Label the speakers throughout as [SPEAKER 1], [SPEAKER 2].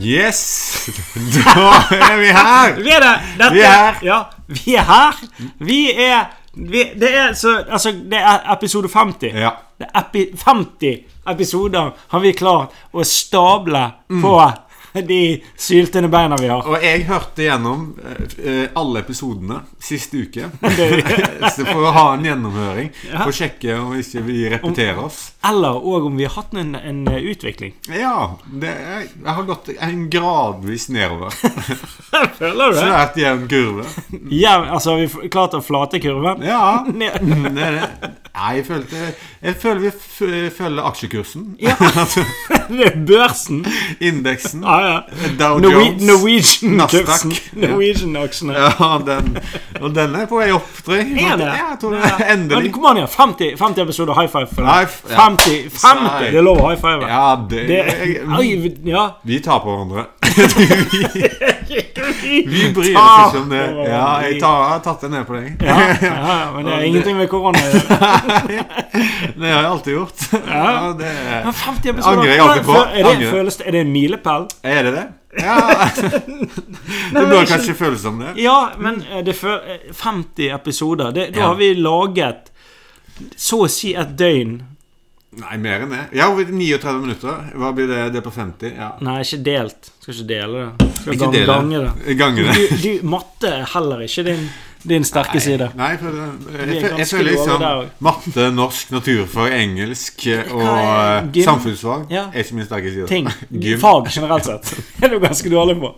[SPEAKER 1] Yes! Da er vi her!
[SPEAKER 2] Vi er det! Dette,
[SPEAKER 1] Vi er her.
[SPEAKER 2] Ja, vi er her! Vi er vi, Det er så Altså, det er episode 50.
[SPEAKER 1] Ja.
[SPEAKER 2] Det er epi, 50 episoder har vi klart å stable
[SPEAKER 1] Mm.
[SPEAKER 2] på de syltende beina vi har.
[SPEAKER 1] Og jeg hørte gjennom eh, alle episodene siste uke. Så for å ha en gjennomhøring. For å sjekke om ikke vi repeterer oss.
[SPEAKER 2] Eller òg om vi har hatt en, en utvikling.
[SPEAKER 1] Ja. Det er, jeg har gått en gradvis nedover.
[SPEAKER 2] Føler du det?
[SPEAKER 1] Svært jevn kurve.
[SPEAKER 2] Ja, altså, har vi f- klart å flate kurven?
[SPEAKER 1] Ja.
[SPEAKER 2] Ned.
[SPEAKER 1] Mm, Det er det. Nei, jeg følte Jeg føler vi f følger aksjekursen.
[SPEAKER 2] Ja.
[SPEAKER 1] Altså,
[SPEAKER 2] Det er børsen.
[SPEAKER 1] Indeksen.
[SPEAKER 2] Ja, ja.
[SPEAKER 1] Dow
[SPEAKER 2] Norwe-
[SPEAKER 1] Jones.
[SPEAKER 2] Norwegian-kursen.
[SPEAKER 1] Nasdaq. Ja.
[SPEAKER 2] Norwegian-aksjene.
[SPEAKER 1] Ja, den, og den er på vei opp, tror jeg.
[SPEAKER 2] Er det?
[SPEAKER 1] Ja, jeg tror det er
[SPEAKER 2] Men
[SPEAKER 1] endelig.
[SPEAKER 2] kom an, ja. 50, 50 episoder high five. For
[SPEAKER 1] High
[SPEAKER 2] deg.
[SPEAKER 1] f- ja.
[SPEAKER 2] 50, 50 Det er lov å high five.
[SPEAKER 1] Ja, det,
[SPEAKER 2] Det, oi,
[SPEAKER 1] jeg,
[SPEAKER 2] ja.
[SPEAKER 1] Vi tar på hverandre.
[SPEAKER 2] Vi
[SPEAKER 1] Vi bryr
[SPEAKER 2] tar
[SPEAKER 1] oss ikke om det.
[SPEAKER 2] over
[SPEAKER 1] Ja, jeg,
[SPEAKER 2] de-
[SPEAKER 1] tar, jeg har tatt det ned på deg.
[SPEAKER 2] ja, ja, men det er
[SPEAKER 1] Og
[SPEAKER 2] ingenting med korona å gjøre.
[SPEAKER 1] Det har jeg alltid gjort. Ja, det
[SPEAKER 2] Men
[SPEAKER 1] er,
[SPEAKER 2] 50 episoder
[SPEAKER 1] Angrer jeg aldri på.
[SPEAKER 2] Er det,
[SPEAKER 1] Angrer.
[SPEAKER 2] føles, det- er det en milepæl?
[SPEAKER 1] er det det? Ja. Det bør kanskje føles som det.
[SPEAKER 2] Ja, men eh, det føl, eh, 50 episoder det, Da
[SPEAKER 1] Ja.
[SPEAKER 2] har vi laget så å si et døgn.
[SPEAKER 1] Nei, mer enn det. Ja, 39 minutter. Hva blir det? Det er på 50? Ja.
[SPEAKER 2] Nei, ikke delt. Skal ikke dele det. Skal
[SPEAKER 1] Ikke
[SPEAKER 2] gang-
[SPEAKER 1] dele.
[SPEAKER 2] gange det.
[SPEAKER 1] Gange det.
[SPEAKER 2] Du, du, matte er heller ikke din, din sterke side.
[SPEAKER 1] Nei, for det,
[SPEAKER 2] Vi er
[SPEAKER 1] jeg, føl- jeg
[SPEAKER 2] ganske
[SPEAKER 1] føler
[SPEAKER 2] dårlige der
[SPEAKER 1] liksom
[SPEAKER 2] også.
[SPEAKER 1] matte, norsk, naturfag, engelsk og
[SPEAKER 2] Hva er
[SPEAKER 1] eh,
[SPEAKER 2] gym?
[SPEAKER 1] samfunnsfag
[SPEAKER 2] Ja.
[SPEAKER 1] er ikke min sterke side.
[SPEAKER 2] ting.
[SPEAKER 1] Gym.
[SPEAKER 2] Fag generelt sett. Det er du ganske dårlig på.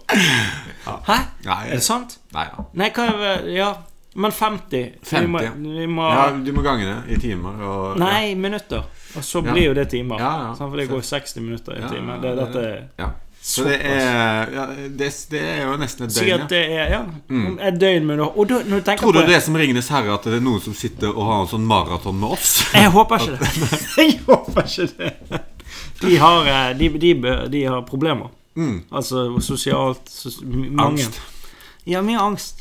[SPEAKER 2] Hæ?
[SPEAKER 1] Nei,
[SPEAKER 2] Er det sant?
[SPEAKER 1] nei da.
[SPEAKER 2] Nei, hva er Ja. Men 50. Vi må,
[SPEAKER 1] 50.
[SPEAKER 2] vi må
[SPEAKER 1] Ja, du må gange det i timer. Og,
[SPEAKER 2] Nei, minutter. Og så
[SPEAKER 1] Ja.
[SPEAKER 2] blir jo det timer.
[SPEAKER 1] Ja, ja.
[SPEAKER 2] Sant, For det går 60 minutter i
[SPEAKER 1] Ja,
[SPEAKER 2] timen.
[SPEAKER 1] ja,
[SPEAKER 2] Det, dette er
[SPEAKER 1] Ja. Så det er, ja, det, det er jo nesten et døgn.
[SPEAKER 2] Sikkert
[SPEAKER 1] Ja.
[SPEAKER 2] det er ja, om et døgn med noe. Og da, når du tenker
[SPEAKER 1] Mm. Tror du
[SPEAKER 2] på
[SPEAKER 1] det er som Ringenes herre, at det er noen som sitter og har en sånn maraton med oss?
[SPEAKER 2] Jeg håper ikke det. Jeg håper ikke det. De har, eh, de, de, bø- de har problemer.
[SPEAKER 1] Mm.
[SPEAKER 2] Altså sosialt sos, m- mange.
[SPEAKER 1] Angst.
[SPEAKER 2] Ja, mye angst.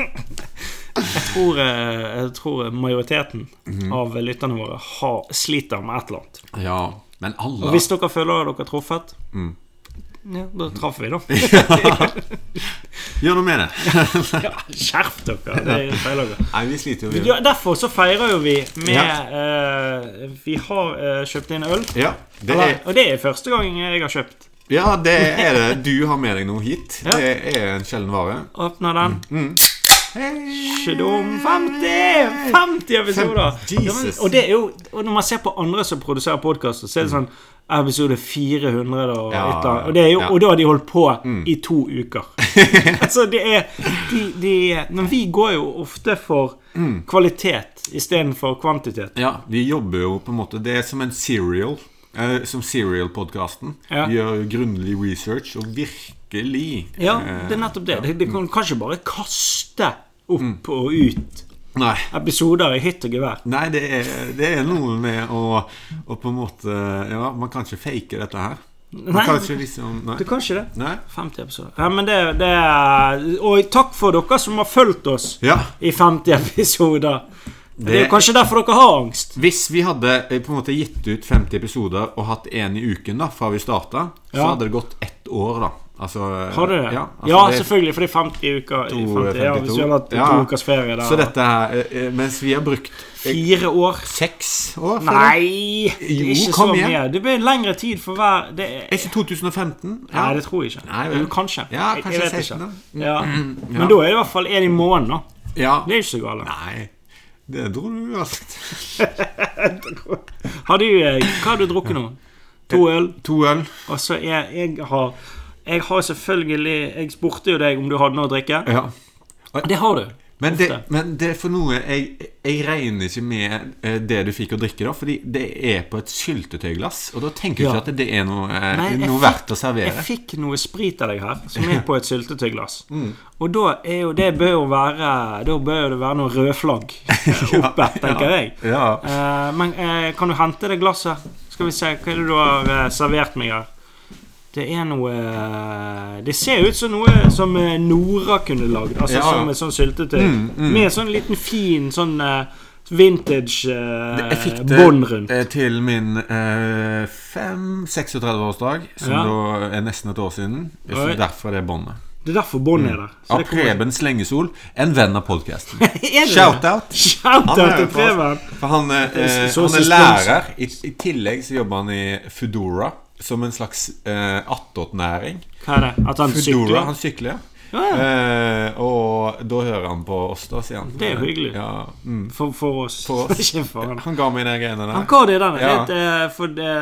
[SPEAKER 2] jeg, tror, eh, jeg tror majoriteten
[SPEAKER 1] Mhm.
[SPEAKER 2] av lytterne våre har, sliter med et eller annet.
[SPEAKER 1] Ja, men
[SPEAKER 2] Og
[SPEAKER 1] alle
[SPEAKER 2] hvis dere føler dere har truffet
[SPEAKER 1] Mm.
[SPEAKER 2] Ja, da traff vi, da.
[SPEAKER 1] Gjør noe med det.
[SPEAKER 2] Ja, Skjerp dere! Det er feil dere.
[SPEAKER 1] Nei, vi sliter jo.
[SPEAKER 2] Ja, derfor så feirer jo vi med
[SPEAKER 1] Ja.
[SPEAKER 2] eh, Vi har eh, kjøpt inn øl.
[SPEAKER 1] Ja, det er,
[SPEAKER 2] Eller, og det er første gang jeg har kjøpt.
[SPEAKER 1] ja, det er det. Du har med deg noe hit.
[SPEAKER 2] Ja.
[SPEAKER 1] Det er en sjelden vare.
[SPEAKER 2] Åpner den.
[SPEAKER 1] Hei!
[SPEAKER 2] Skedom 50! 50 episoder!
[SPEAKER 1] Fem- Jesus.
[SPEAKER 2] Og, det er jo, og når man ser på andre som produserer podkaster, så er det sånn episode 400 og
[SPEAKER 1] Ja,
[SPEAKER 2] et eller annet. Og, det er jo,
[SPEAKER 1] ja. Mm.
[SPEAKER 2] og da har de holdt på i to uker. altså, det er de, de, Men vi går jo ofte for
[SPEAKER 1] Mm.
[SPEAKER 2] kvalitet istedenfor kvantitet.
[SPEAKER 1] Ja, vi jobber jo på en måte Det er som en serial. Eh, som Serial-podkasten.
[SPEAKER 2] Ja.
[SPEAKER 1] Vi gjør grundig research, og virkelig
[SPEAKER 2] Ja,
[SPEAKER 1] eh,
[SPEAKER 2] det er nettopp det. De, de kan kanskje bare kaste
[SPEAKER 1] Mm.
[SPEAKER 2] opp og ut
[SPEAKER 1] Nei.
[SPEAKER 2] episoder i hytt og gevær.
[SPEAKER 1] Nei, det er, det er noe med å, å på en måte Ja, man kan ikke fake dette her. Man
[SPEAKER 2] Nei.
[SPEAKER 1] kan ikke liksom Nei.
[SPEAKER 2] Du kan ikke det.
[SPEAKER 1] nei.
[SPEAKER 2] 50 episoder. Ja, men det, det er, Og takk for dere som har fulgt oss
[SPEAKER 1] Ja.
[SPEAKER 2] i 50 episoder. Det, er
[SPEAKER 1] Det-
[SPEAKER 2] jo kanskje derfor dere har angst.
[SPEAKER 1] Hvis vi hadde eh, på en måte gitt ut 50 episoder og hatt én i uken da, fra vi starta, så
[SPEAKER 2] Ja.
[SPEAKER 1] hadde det gått ett år, da. Altså,
[SPEAKER 2] Har dere det?
[SPEAKER 1] Ja,
[SPEAKER 2] Ja,
[SPEAKER 1] altså, det,
[SPEAKER 2] selvfølgelig, for det er 50 uker. i
[SPEAKER 1] To,
[SPEAKER 2] 50, ja, hvis
[SPEAKER 1] 52.
[SPEAKER 2] vi hadde hatt
[SPEAKER 1] Ja.
[SPEAKER 2] to ukers ferie der.
[SPEAKER 1] Så dette her eh, eh, Mens vi har brukt eh,
[SPEAKER 2] Fire år.
[SPEAKER 1] seks år føler jeg.
[SPEAKER 2] Nei! det er
[SPEAKER 1] Jo,
[SPEAKER 2] ikke
[SPEAKER 1] kom
[SPEAKER 2] så
[SPEAKER 1] igjen.
[SPEAKER 2] mye. Det blir lengre tid for hver det er,
[SPEAKER 1] Er ikke 2015?
[SPEAKER 2] Nei, det tror jeg ikke.
[SPEAKER 1] Nei, vel.
[SPEAKER 2] Jo, kanskje.
[SPEAKER 1] Ja,
[SPEAKER 2] Jeg-
[SPEAKER 1] kanskje
[SPEAKER 2] jeg vet ikke.
[SPEAKER 1] 16, da.
[SPEAKER 2] Ja.
[SPEAKER 1] Ja.
[SPEAKER 2] Men da er det i hvert fall én i måneden, da.
[SPEAKER 1] Ja.
[SPEAKER 2] Det er ikke så galt.
[SPEAKER 1] Nei, det dro du raskt.
[SPEAKER 2] Har du, eh, hva har du drukket nå? To øl?
[SPEAKER 1] To øl.
[SPEAKER 2] Og så er jeg har Jeg har selvfølgelig Jeg spurte jo deg om du hadde noe å drikke.
[SPEAKER 1] Ja.
[SPEAKER 2] Det har du.
[SPEAKER 1] Men det,
[SPEAKER 2] Ofte.
[SPEAKER 1] men det er for noe jeg, jeg regner ikke med eh, det du fikk å drikke, da. Fordi det er på et syltetøyglass. Og da tenker du
[SPEAKER 2] Ja.
[SPEAKER 1] ikke at det er noe, eh,
[SPEAKER 2] Nei, jeg
[SPEAKER 1] noe
[SPEAKER 2] fikk-
[SPEAKER 1] verdt å
[SPEAKER 2] Jeg
[SPEAKER 1] servere.
[SPEAKER 2] fikk noe sprit av deg her, som er på et syltetøyglass.
[SPEAKER 1] Mm.
[SPEAKER 2] Og da er jo det bør jo være Da bør jo det være noe rødflagg eh, oppe, tenker jeg.
[SPEAKER 1] Ja.
[SPEAKER 2] Eh, men eh, kan du hente det glasset? Skal vi se, hva er det du har eh, servert meg her? Det er noe eh, Det ser ut som noe som eh, Nora kunne lagd. Altså
[SPEAKER 1] Ja, Mm, ja.
[SPEAKER 2] som et sånn syltetøy. Med sånn liten fin sånn eh, vintage eh,
[SPEAKER 1] Jeg fikk det
[SPEAKER 2] bånd rundt.
[SPEAKER 1] eh, til min eh, 5-36-årsdag, som
[SPEAKER 2] Ja.
[SPEAKER 1] da er nesten et år siden. Så
[SPEAKER 2] Oi.
[SPEAKER 1] derfor er det båndet.
[SPEAKER 2] Det er derfor båndet er der. Så
[SPEAKER 1] Av
[SPEAKER 2] det kommer-
[SPEAKER 1] Preben Slengesol, en venn av podkasten.
[SPEAKER 2] Er det det?
[SPEAKER 1] Shout-out!
[SPEAKER 2] Shout-out
[SPEAKER 1] Han er
[SPEAKER 2] til
[SPEAKER 1] jo på oss.
[SPEAKER 2] Preben!
[SPEAKER 1] For han, eh,
[SPEAKER 2] Det er så
[SPEAKER 1] han er
[SPEAKER 2] suspens.
[SPEAKER 1] lærer. I, I tillegg så jobber han i Foodora, som en slags eh, attåtnæring.
[SPEAKER 2] Hva er det? At han
[SPEAKER 1] Foodora,
[SPEAKER 2] sykler?
[SPEAKER 1] han sykler, ja.
[SPEAKER 2] Ja, ja.
[SPEAKER 1] Eh, og da hører han på oss, da, sier han.
[SPEAKER 2] Det er jo hyggelig.
[SPEAKER 1] Ja, mm.
[SPEAKER 2] For, for oss.
[SPEAKER 1] For oss.
[SPEAKER 2] Ikke for han.
[SPEAKER 1] Han ga meg de greiene
[SPEAKER 2] Han
[SPEAKER 1] der.
[SPEAKER 2] ga det den.
[SPEAKER 1] Ja.
[SPEAKER 2] Det, er et, eh, for det,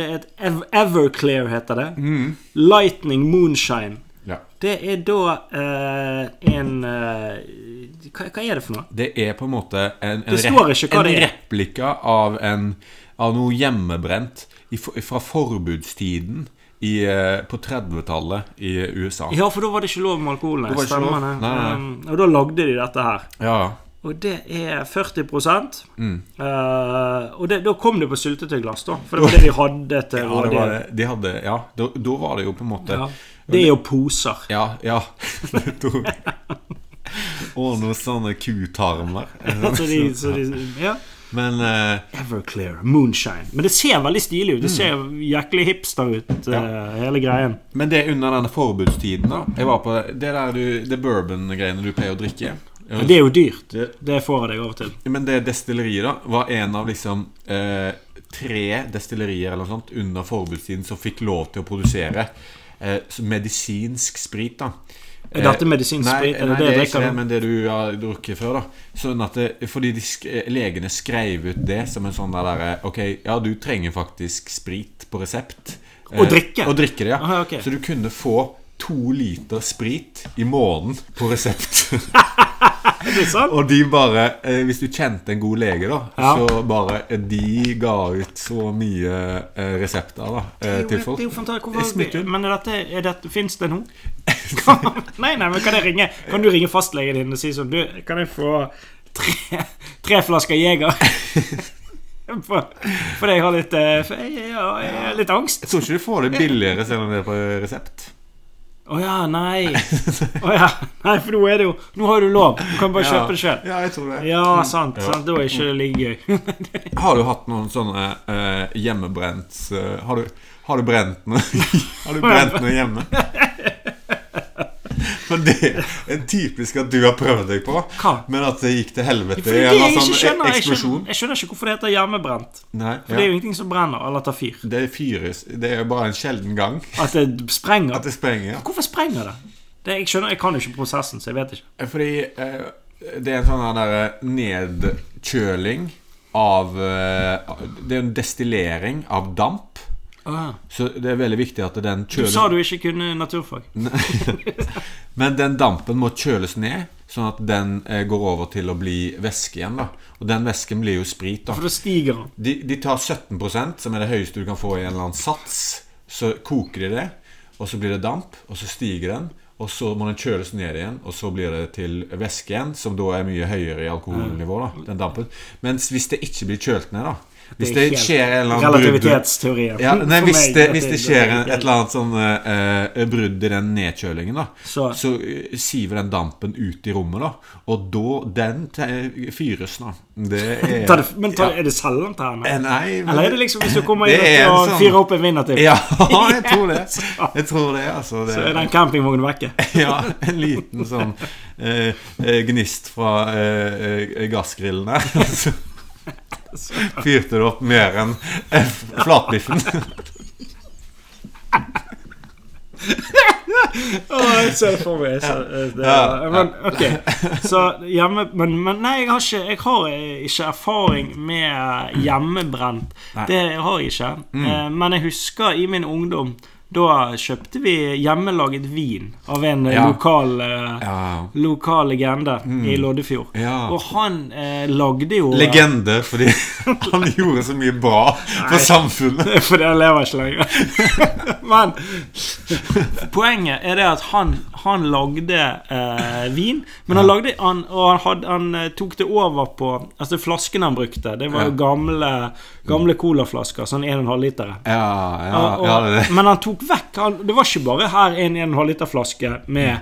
[SPEAKER 2] det er et Ev- Everclear, heter det. Lightning Moonshine.
[SPEAKER 1] Mm. Ja.
[SPEAKER 2] Det er da eh, en eh, hva, hva er det for noe?
[SPEAKER 1] Det er på en måte en, en,
[SPEAKER 2] Det står ikke hva
[SPEAKER 1] en
[SPEAKER 2] det er.
[SPEAKER 1] replika av, en, av noe hjemmebrent i, for- fra forbudstiden i, eh, på 30-tallet i USA.
[SPEAKER 2] Ja, for da var det ikke lov med alkohol.
[SPEAKER 1] Da
[SPEAKER 2] Nei,
[SPEAKER 1] var det ikke lov.
[SPEAKER 2] stemmer det.
[SPEAKER 1] Nei, nei.
[SPEAKER 2] Um, og da lagde de dette her.
[SPEAKER 1] Ja,
[SPEAKER 2] Og det er 40
[SPEAKER 1] Mm.
[SPEAKER 2] Eh, Og det, da kom det på syltetøyglass, da. For det var det de hadde til
[SPEAKER 1] ja det var det.
[SPEAKER 2] rådighet.
[SPEAKER 1] De hadde Ja, da, da var det jo på en måte
[SPEAKER 2] Ja. Det er jo poser.
[SPEAKER 1] Ja, ja. Og noen sånne kutarmer.
[SPEAKER 2] Så de, så de, ja.
[SPEAKER 1] Men eh,
[SPEAKER 2] Everclear, Moonshine. Men det ser veldig stilig ut.
[SPEAKER 1] Mm.
[SPEAKER 2] Det ser jæklig hipster ut, eh, hele greien.
[SPEAKER 1] Men det er under denne forbudstiden, da. Jeg var på det der du Det bourbon-greiene du pleier å drikke.
[SPEAKER 2] Men det er jo dyrt.
[SPEAKER 1] Det-
[SPEAKER 2] Det får jeg deg over til.
[SPEAKER 1] Men det destilleriet, da, var en av liksom eh, tre destillerier eller noe sånt under forbudstiden som fikk lov til å produsere eh, så medisinsk sprit, da. Eh,
[SPEAKER 2] Er dette medisinsk
[SPEAKER 1] nei,
[SPEAKER 2] sprit? Er det
[SPEAKER 1] nei,
[SPEAKER 2] det
[SPEAKER 1] det er
[SPEAKER 2] jeg drikker
[SPEAKER 1] ikke det,
[SPEAKER 2] nå?
[SPEAKER 1] men det du har drukket før, da. Sånn at det, fordi de, sk- eh, legene skrev ut det som en sånn der derre Ok, ja, du trenger faktisk sprit på resept. eh,
[SPEAKER 2] Å drikke?
[SPEAKER 1] Og drikke det, ja.
[SPEAKER 2] Aha, ok.
[SPEAKER 1] Så du kunne få to liter sprit i måneden på resept.
[SPEAKER 2] Er det sant?
[SPEAKER 1] og de bare eh, Hvis du kjente en god lege, da,
[SPEAKER 2] Ja.
[SPEAKER 1] så bare eh, De ga ut så mye eh, resepter da, eh,
[SPEAKER 2] Det er
[SPEAKER 1] til
[SPEAKER 2] jo-
[SPEAKER 1] folk.
[SPEAKER 2] Det er jo fantastisk.
[SPEAKER 1] Jeg smitter
[SPEAKER 2] Hvorfor,
[SPEAKER 1] jo.
[SPEAKER 2] men er dette, er dette, finnes det nå? nei, nei, men kan, jeg ringe, kan du ringe fastlegen din og si sånn Du, kan jeg få tre, tre flasker Jeger? For- Fordi jeg har litt eh, for jeg, jeg, jeg, jeg har litt angst.
[SPEAKER 1] Jeg tror ikke du får det billigere selv om det er på resept.
[SPEAKER 2] Å ja, nei. Å ja. Nei, for nå er det jo Nå har du lov. Du kan bare kjøpe det sjøl.
[SPEAKER 1] Ja, jeg tror det.
[SPEAKER 2] Ja, sant.
[SPEAKER 1] Ja.
[SPEAKER 2] sant. Da er ikke det like gøy.
[SPEAKER 1] Har du hatt noen sånne eh, hjemmebrent eh, har, du, har du brent noe Har du brent noe hjemme? For det er typisk at du har prøvd deg på,
[SPEAKER 2] Hva?
[SPEAKER 1] men at det gikk til helvete.
[SPEAKER 2] Fordi
[SPEAKER 1] eller
[SPEAKER 2] jeg ikke
[SPEAKER 1] sånn
[SPEAKER 2] skjønner jeg skjønner,
[SPEAKER 1] eksplosjon.
[SPEAKER 2] jeg skjønner ikke hvorfor det heter hjemmebrent.
[SPEAKER 1] Nei,
[SPEAKER 2] For det er
[SPEAKER 1] ja.
[SPEAKER 2] jo ingenting som brenner eller tar fyr.
[SPEAKER 1] Det fyres Det er jo bare en sjelden gang
[SPEAKER 2] At det sprenger.
[SPEAKER 1] at det sprenger.
[SPEAKER 2] Hvorfor sprenger det? det jeg skjønner, jeg kan jo ikke prosessen, så jeg vet ikke.
[SPEAKER 1] Fordi eh, det er en sånn her derre nedkjøling av eh, Det er en destillering av damp. Så det er veldig viktig at den
[SPEAKER 2] Du
[SPEAKER 1] kjøles
[SPEAKER 2] sa du ikke kunne naturfag.
[SPEAKER 1] Men den dampen må kjøles ned, sånn at den eh, går over til å bli væske igjen. da Og den væsken blir jo sprit.
[SPEAKER 2] For
[SPEAKER 1] da
[SPEAKER 2] da stiger han.
[SPEAKER 1] De, de tar 17 som er det høyeste du kan få i en eller annen sats. Så koker de det, og så blir det damp, og så stiger den. Og så må den kjøles ned igjen, og så blir det til væske igjen, som da er mye høyere i alkoholnivå. da Den dampen Mens hvis det ikke blir kjølt ned, da Hvis det,
[SPEAKER 2] er helt
[SPEAKER 1] skjer en eller annen brudd
[SPEAKER 2] Relativitetsteorien.
[SPEAKER 1] ja, nei,
[SPEAKER 2] For
[SPEAKER 1] hvis,
[SPEAKER 2] meg,
[SPEAKER 1] det,
[SPEAKER 2] at
[SPEAKER 1] hvis det skjer en, et eller annet sånn eh, eh, brudd i den nedkjølingen, da, så,
[SPEAKER 2] Så-
[SPEAKER 1] eh, siver den dampen ut i rommet, da. Og da Den te- fyres, da. Det er
[SPEAKER 2] Tar det, men tar, er det selgent her nå?
[SPEAKER 1] Eh, Nei, men-
[SPEAKER 2] Eller er det liksom hvis du kommer
[SPEAKER 1] Det
[SPEAKER 2] inn
[SPEAKER 1] er
[SPEAKER 2] og
[SPEAKER 1] sånn-
[SPEAKER 2] fyrer opp en vinner til,
[SPEAKER 1] Ja, jeg tror det. Jeg tror det, altså. Det,
[SPEAKER 2] så er den campingvognen vekke?
[SPEAKER 1] ja, en liten sånn eh, eh, gnist fra eh, eh, gassgrillen der. og så Fyrte det opp mer enn eh, flatbiffen.
[SPEAKER 2] Åh, jeg ser det for meg. jeg ser- eh, det-
[SPEAKER 1] Ja.
[SPEAKER 2] Men ok. Så hjemme Men, men nei, jeg har, ikke, jeg har eh, ikke erfaring med eh, hjemmebrent.
[SPEAKER 1] Nei. Mm.
[SPEAKER 2] Det har jeg ikke. Eh, Men jeg husker i min ungdom da kjøpte vi hjemmelaget vin av en eh,
[SPEAKER 1] Ja.
[SPEAKER 2] lokal, eh,
[SPEAKER 1] Ja. Mm.
[SPEAKER 2] lokal legende i Loddefjord.
[SPEAKER 1] Ja.
[SPEAKER 2] Og han eh, lagde jo
[SPEAKER 1] Legende, fordi han gjorde så mye bra for samfunnet.
[SPEAKER 2] Fordi han lever ikke lenger. Men poenget er det at han, han lagde eh, vin, men han lagde han, og han, hadde, han eh, tok det over på Altså flaskene han brukte, det var jo
[SPEAKER 1] Ja.
[SPEAKER 2] gamle, gamle colaflasker, sånn 1,5 liter.
[SPEAKER 1] Ja, ja,
[SPEAKER 2] Og- og-
[SPEAKER 1] ja det,
[SPEAKER 2] Men han tok vekk han, Det var ikke bare her en 1,5 liter flaske med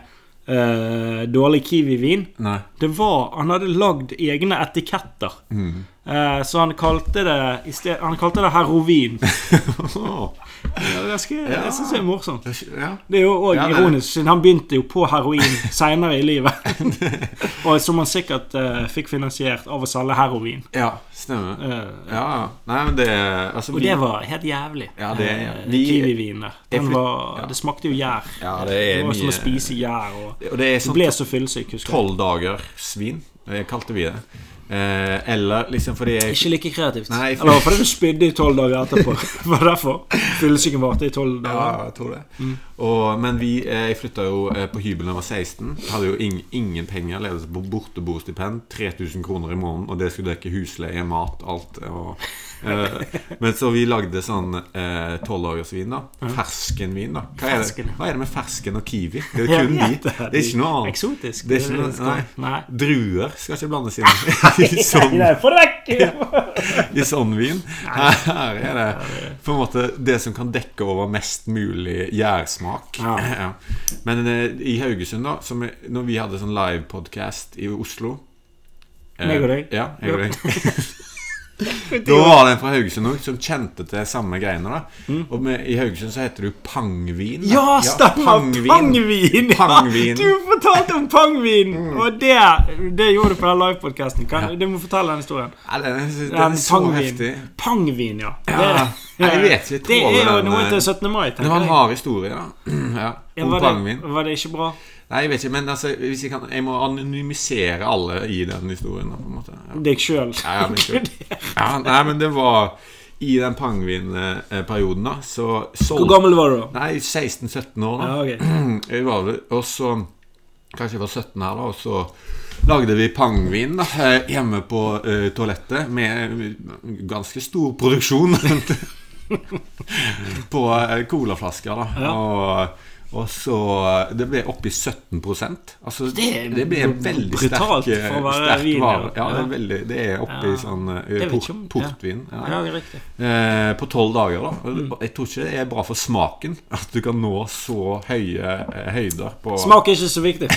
[SPEAKER 2] eh, dårlig kiwivin.
[SPEAKER 1] Nei.
[SPEAKER 2] Det var Han hadde lagd egne etiketter.
[SPEAKER 1] Mm.
[SPEAKER 2] Eh, så han kalte det i sted, Han kalte det herovin. Ja, det skal,
[SPEAKER 1] Ja.
[SPEAKER 2] Jeg syns det er morsomt.
[SPEAKER 1] ja.
[SPEAKER 2] Det er jo òg
[SPEAKER 1] Ja, det er det.
[SPEAKER 2] ironisk, siden han begynte jo på heroin seinere i livet. og som han sikkert eh, fikk finansiert av å selge heroin.
[SPEAKER 1] ja, stemmer.
[SPEAKER 2] Eh,
[SPEAKER 1] Ja, ja. Nei, men det Altså,
[SPEAKER 2] og det var helt jævlig.
[SPEAKER 1] Ja, det er-
[SPEAKER 2] Eh,
[SPEAKER 1] vi-
[SPEAKER 2] Kiwi-vin der. Den
[SPEAKER 1] flytt-
[SPEAKER 2] var,
[SPEAKER 1] ja.
[SPEAKER 2] Det smakte jo gjær.
[SPEAKER 1] Ja, det er
[SPEAKER 2] det var som
[SPEAKER 1] mye-
[SPEAKER 2] å spise gjær. Og
[SPEAKER 1] Og det er
[SPEAKER 2] du
[SPEAKER 1] sånn
[SPEAKER 2] ble så fyllesyk, husker jeg.
[SPEAKER 1] tolv dager svin, eh, kalte vi det. Eh, eller liksom fordi jeg
[SPEAKER 2] Ikke like kreativt.
[SPEAKER 1] Nei, for-
[SPEAKER 2] Eller fordi du spydde i tolv dager etterpå. Var det derfor? Fyllesyken varte i tolv dager.
[SPEAKER 1] Ja, jeg tror det.
[SPEAKER 2] Mm.
[SPEAKER 1] Og, men vi, eh, jeg flytta jo eh, på hybel da jeg var 16. Hadde jo ing, ingen penger. Levde på borteboerstipend. 3000 kroner i måneden, og det skulle dekke husleie, mat, alt. Og, eh, men så vi lagde sånn tolvdagersvin, da. Ferskenvin, da. Hva er, det,
[SPEAKER 2] Fersken.
[SPEAKER 1] hva er det med fersken og kiwi? Det er
[SPEAKER 2] Jeg
[SPEAKER 1] kun de.
[SPEAKER 2] vet
[SPEAKER 1] Det er ikke noe annet.
[SPEAKER 2] Eksotisk.
[SPEAKER 1] Det er ikke noe-
[SPEAKER 2] skal- nei.
[SPEAKER 1] Druer skal ikke blandes inn i sånn
[SPEAKER 2] Nei, Få det vekk!
[SPEAKER 1] i sånn vin. Her er det på en måte det som kan dekke over mest mulig gjærsmak.
[SPEAKER 2] Ja.
[SPEAKER 1] Ja. Men eh, i Haugesund, da, som, er- når vi hadde sånn livepodkast i Oslo eh,
[SPEAKER 2] Meg og deg.
[SPEAKER 1] Ja, jeg og deg. Da var det en fra Haugesund òg som kjente til samme greiene. da Og med, i Haugesund så heter det jo pangvin. da.
[SPEAKER 2] Mm. Ja, stemmer! Pangvin! ja.
[SPEAKER 1] Pangvin. Mm.
[SPEAKER 2] Du fortalte om pangvin! Og det, det gjorde du på den livepodkasten. Kan- Du må fortelle den historien.
[SPEAKER 1] Ja, den, er- den
[SPEAKER 2] Den
[SPEAKER 1] er så
[SPEAKER 2] pangvin.
[SPEAKER 1] heftig.
[SPEAKER 2] Pangvin, ja. Det,
[SPEAKER 1] Ja, jeg vet ikke, jeg
[SPEAKER 2] det er jo
[SPEAKER 1] tåler den,
[SPEAKER 2] noe
[SPEAKER 1] eh,
[SPEAKER 2] til 17. mai,
[SPEAKER 1] Det var
[SPEAKER 2] tenker
[SPEAKER 1] en
[SPEAKER 2] jeg.
[SPEAKER 1] hard historie, da. Ja,
[SPEAKER 2] Ja,
[SPEAKER 1] om
[SPEAKER 2] var,
[SPEAKER 1] pangvin.
[SPEAKER 2] det, var det ikke bra?
[SPEAKER 1] Nei, jeg vet ikke, men altså, hvis jeg, kan, jeg må anonymisere alle i den historien. da, på en måte. Ja.
[SPEAKER 2] Deg sjøl.
[SPEAKER 1] Ja, ja, men ikke- Ja, nei, men det var I den pangvin-perioden, da, så
[SPEAKER 2] Hvor
[SPEAKER 1] solgte
[SPEAKER 2] gammel var du da?
[SPEAKER 1] Nei, 16-17 år, da.
[SPEAKER 2] Ja, ok.
[SPEAKER 1] Jeg var vel Og så Kanskje jeg var 17 her, da, og så lagde vi pangvin da, eh, hjemme på eh, toalettet med eh, ganske stor produksjon på eh, colaflasker, da.
[SPEAKER 2] Ja.
[SPEAKER 1] Og, og så eh, Det ble oppi 17 Altså, det,
[SPEAKER 2] Det er
[SPEAKER 1] ble en veldig
[SPEAKER 2] brutalt
[SPEAKER 1] sterk, eh,
[SPEAKER 2] for å være
[SPEAKER 1] sterk
[SPEAKER 2] vin, ja.
[SPEAKER 1] vare. Ja, det
[SPEAKER 2] Ja.
[SPEAKER 1] er, veldig, det er oppi
[SPEAKER 2] Ja.
[SPEAKER 1] sånn eh,
[SPEAKER 2] vet
[SPEAKER 1] port,
[SPEAKER 2] ikke om- ja.
[SPEAKER 1] portvin. Ja.
[SPEAKER 2] Ja, det er riktig.
[SPEAKER 1] Eh, på tolv dager, da. Og det- Jeg tror ikke det er bra for smaken at du kan nå så høye eh, høyder på
[SPEAKER 2] Smak er ikke så viktig.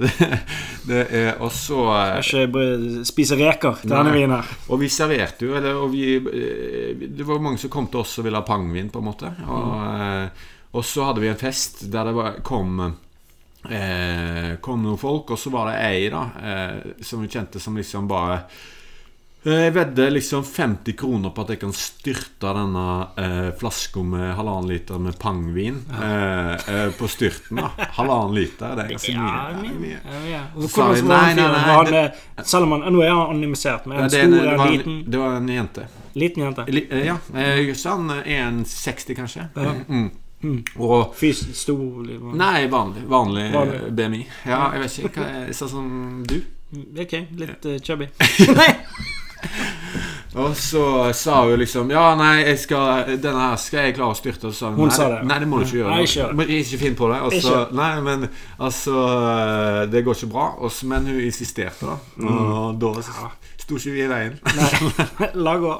[SPEAKER 1] det, det er også eh,
[SPEAKER 2] Ikke bry- spise reker til denne
[SPEAKER 1] Nei.
[SPEAKER 2] vinen her.
[SPEAKER 1] Og vi serverte jo, eller og vi, eh, Det var mange som kom til oss og ville ha pangvin, på en måte.
[SPEAKER 2] Mm.
[SPEAKER 1] Og, eh, og så hadde vi en fest der det var, kom eh, kom noen folk, og så var det ei da eh, som vi kjente som liksom bare jeg vedder liksom 50 kroner på at jeg kan styrte denne eh, flaska med halvannen liter med pangvin eh, eh, på styrten. da Halvannen liter, det er ganske mye.
[SPEAKER 2] Ja,
[SPEAKER 1] Det er
[SPEAKER 2] men-
[SPEAKER 1] mye.
[SPEAKER 2] ja, ja. Og
[SPEAKER 1] sa
[SPEAKER 2] hvordan
[SPEAKER 1] vi,
[SPEAKER 2] var
[SPEAKER 1] nei,
[SPEAKER 2] han
[SPEAKER 1] nei,
[SPEAKER 2] fyren?
[SPEAKER 1] nei,
[SPEAKER 2] Var han, eh, Selv om han Nå er han anonymisert, men
[SPEAKER 1] Ja,
[SPEAKER 2] en
[SPEAKER 1] det, er en,
[SPEAKER 2] stor,
[SPEAKER 1] det,
[SPEAKER 2] en
[SPEAKER 1] var
[SPEAKER 2] liten,
[SPEAKER 1] en, det var en jente.
[SPEAKER 2] liten jente.
[SPEAKER 1] Li- eh, Ja, eh, sånn eh, 1,60 kanskje.
[SPEAKER 2] Ja.
[SPEAKER 1] Mm. Og
[SPEAKER 2] Fys, stor liksom.
[SPEAKER 1] Nei, vanlig, vanlig,
[SPEAKER 2] Vanlig.
[SPEAKER 1] eh, BMI. Ja, jeg vet ikke. Hva, er- sånn som du.
[SPEAKER 2] Ok, litt eh, chubby. Nei!
[SPEAKER 1] Og så sa hun liksom Ja, nei, jeg skal, denne her skal jeg klare å styrte. Og så sa hun,
[SPEAKER 2] Hun
[SPEAKER 1] nei,
[SPEAKER 2] sa
[SPEAKER 1] det.
[SPEAKER 2] det.
[SPEAKER 1] Nei, det må du ikke gjøre.
[SPEAKER 2] Nei, ikke gjør det.
[SPEAKER 1] Men ikke finn på det. Og så,
[SPEAKER 2] Ikke.
[SPEAKER 1] nei, men altså eh, Det går ikke bra. Og så- men hun insisterte, da.
[SPEAKER 2] Mm.
[SPEAKER 1] Og da s- sto ikke vi i veien.
[SPEAKER 2] Nei. La gå.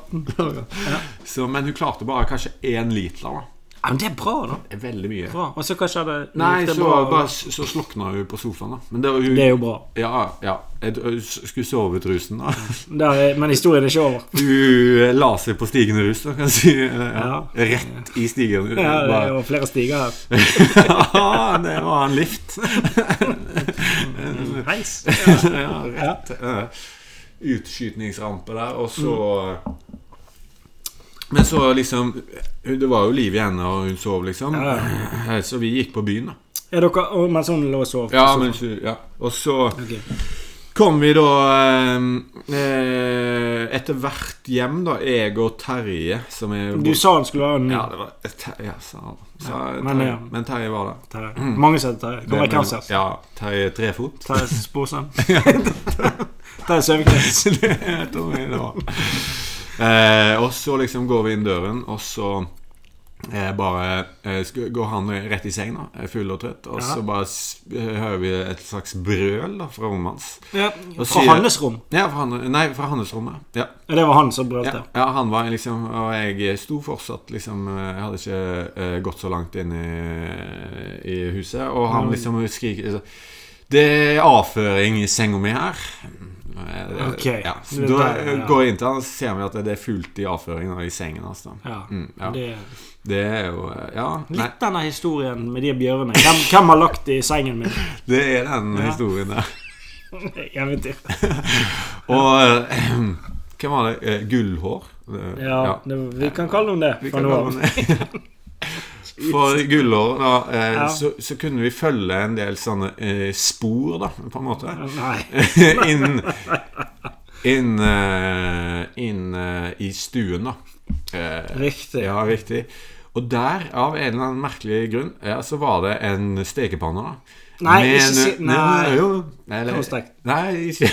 [SPEAKER 2] Ja,
[SPEAKER 1] Så, men hun klarte bare kanskje én liter. da
[SPEAKER 2] men det er bra, da.
[SPEAKER 1] Det er Veldig mye.
[SPEAKER 2] Bra. Og så hva skjedde?
[SPEAKER 1] Nei,
[SPEAKER 2] Gikk det
[SPEAKER 1] så,
[SPEAKER 2] bra?
[SPEAKER 1] bare, s- så slukna hun på sofaen, da. Men det var hun
[SPEAKER 2] Det er jo bra.
[SPEAKER 1] Ja, ja. Jeg d- jeg s- skulle sove ut rusen, da.
[SPEAKER 2] Det er, men historien er ikke over.
[SPEAKER 1] Hun la seg på stigende rus, da, kan jeg si. Ja.
[SPEAKER 2] Ja.
[SPEAKER 1] Rett i stigende rus.
[SPEAKER 2] Ja, det er
[SPEAKER 1] Bare-
[SPEAKER 2] jo flere stiger her.
[SPEAKER 1] Ja, det var en lift.
[SPEAKER 2] Heis.
[SPEAKER 1] Ja, rett. eh, Utskytningsrampe der, og så
[SPEAKER 2] Mm.
[SPEAKER 1] Men så liksom hun- Det var jo liv i henne, og hun sov, liksom. Så vi gikk på byen, da.
[SPEAKER 2] Er dere og Mens hun lå og sov? på
[SPEAKER 1] Ja,
[SPEAKER 2] sofaen.
[SPEAKER 1] men ja. Og så
[SPEAKER 2] Ok.
[SPEAKER 1] kom vi da eh, eh, etter hvert hjem, da. Jeg og Terje, som er
[SPEAKER 2] Du sa han skulle ha en ny.
[SPEAKER 1] Ja, det var Terje, sa han. Sa
[SPEAKER 2] Ja, men,
[SPEAKER 1] Terje.
[SPEAKER 2] ja.
[SPEAKER 1] Men Terje var det.
[SPEAKER 2] Terje. Mange som heter Terje. Kan være
[SPEAKER 1] Det- men-
[SPEAKER 2] Kausers.
[SPEAKER 1] Ja, Terje Trefot.
[SPEAKER 2] Terje Sporsem. Terje Søviknes.
[SPEAKER 1] Jeg tror jeg det var. Eh, og så liksom går vi inn døren, og så Eh, bare eh, sk- går han rett i seng, da, er full og trøtt, og
[SPEAKER 2] Ja.
[SPEAKER 1] så bare s- hører vi et slags brøl da, fra rommet hans.
[SPEAKER 2] Ja,
[SPEAKER 1] Og
[SPEAKER 2] fra
[SPEAKER 1] sier-
[SPEAKER 2] hans rom.
[SPEAKER 1] Ja, fra, han- nei, fra hans rommet. Ja.
[SPEAKER 2] Ja, Det var han som brølte.
[SPEAKER 1] Ja, ja, han var liksom Og jeg sto fortsatt liksom Jeg hadde ikke eh, gått så langt inn i, i huset Og
[SPEAKER 2] Mm.
[SPEAKER 1] han liksom skriker liksom, Det er avføring i senga mi her Eh,
[SPEAKER 2] Ok,
[SPEAKER 1] ja. Så
[SPEAKER 2] det er
[SPEAKER 1] Da
[SPEAKER 2] der, ja.
[SPEAKER 1] går jeg inn til han og så ser vi at det er fullt i avføring da, I sengen hans da
[SPEAKER 2] Ja.
[SPEAKER 1] Mm, ja.
[SPEAKER 2] Det,
[SPEAKER 1] Det er jo eh, Ja, nei,
[SPEAKER 2] litt denne historien med de bjørnene. Hvem, hvem har lagt de i sengen min?
[SPEAKER 1] det er den
[SPEAKER 2] Ja.
[SPEAKER 1] historien der
[SPEAKER 2] Jeg vet ikke.
[SPEAKER 1] Og eh, Hvem var det? Eh, Gullhår Eh,
[SPEAKER 2] Ja, det, vi kan kalle henne det.
[SPEAKER 1] Vi
[SPEAKER 2] fra
[SPEAKER 1] kan
[SPEAKER 2] nå av.
[SPEAKER 1] kalle den det. For gullår, da, eh,
[SPEAKER 2] Ja.
[SPEAKER 1] så, så kunne vi følge en del sånne eh, spor, da, på en måte.
[SPEAKER 2] Nei.
[SPEAKER 1] inn inn, eh, inn eh, i stuen, da. Eh,
[SPEAKER 2] Riktig.
[SPEAKER 1] ja, riktig. Og der, av en eller annen merkelig grunn, ja, så var det en stekepanne, da.
[SPEAKER 2] Nei,
[SPEAKER 1] Med
[SPEAKER 2] ikke si-
[SPEAKER 1] en-
[SPEAKER 2] nei.
[SPEAKER 1] jo, eller-
[SPEAKER 2] Kroppsstekt.
[SPEAKER 1] Nei, ikke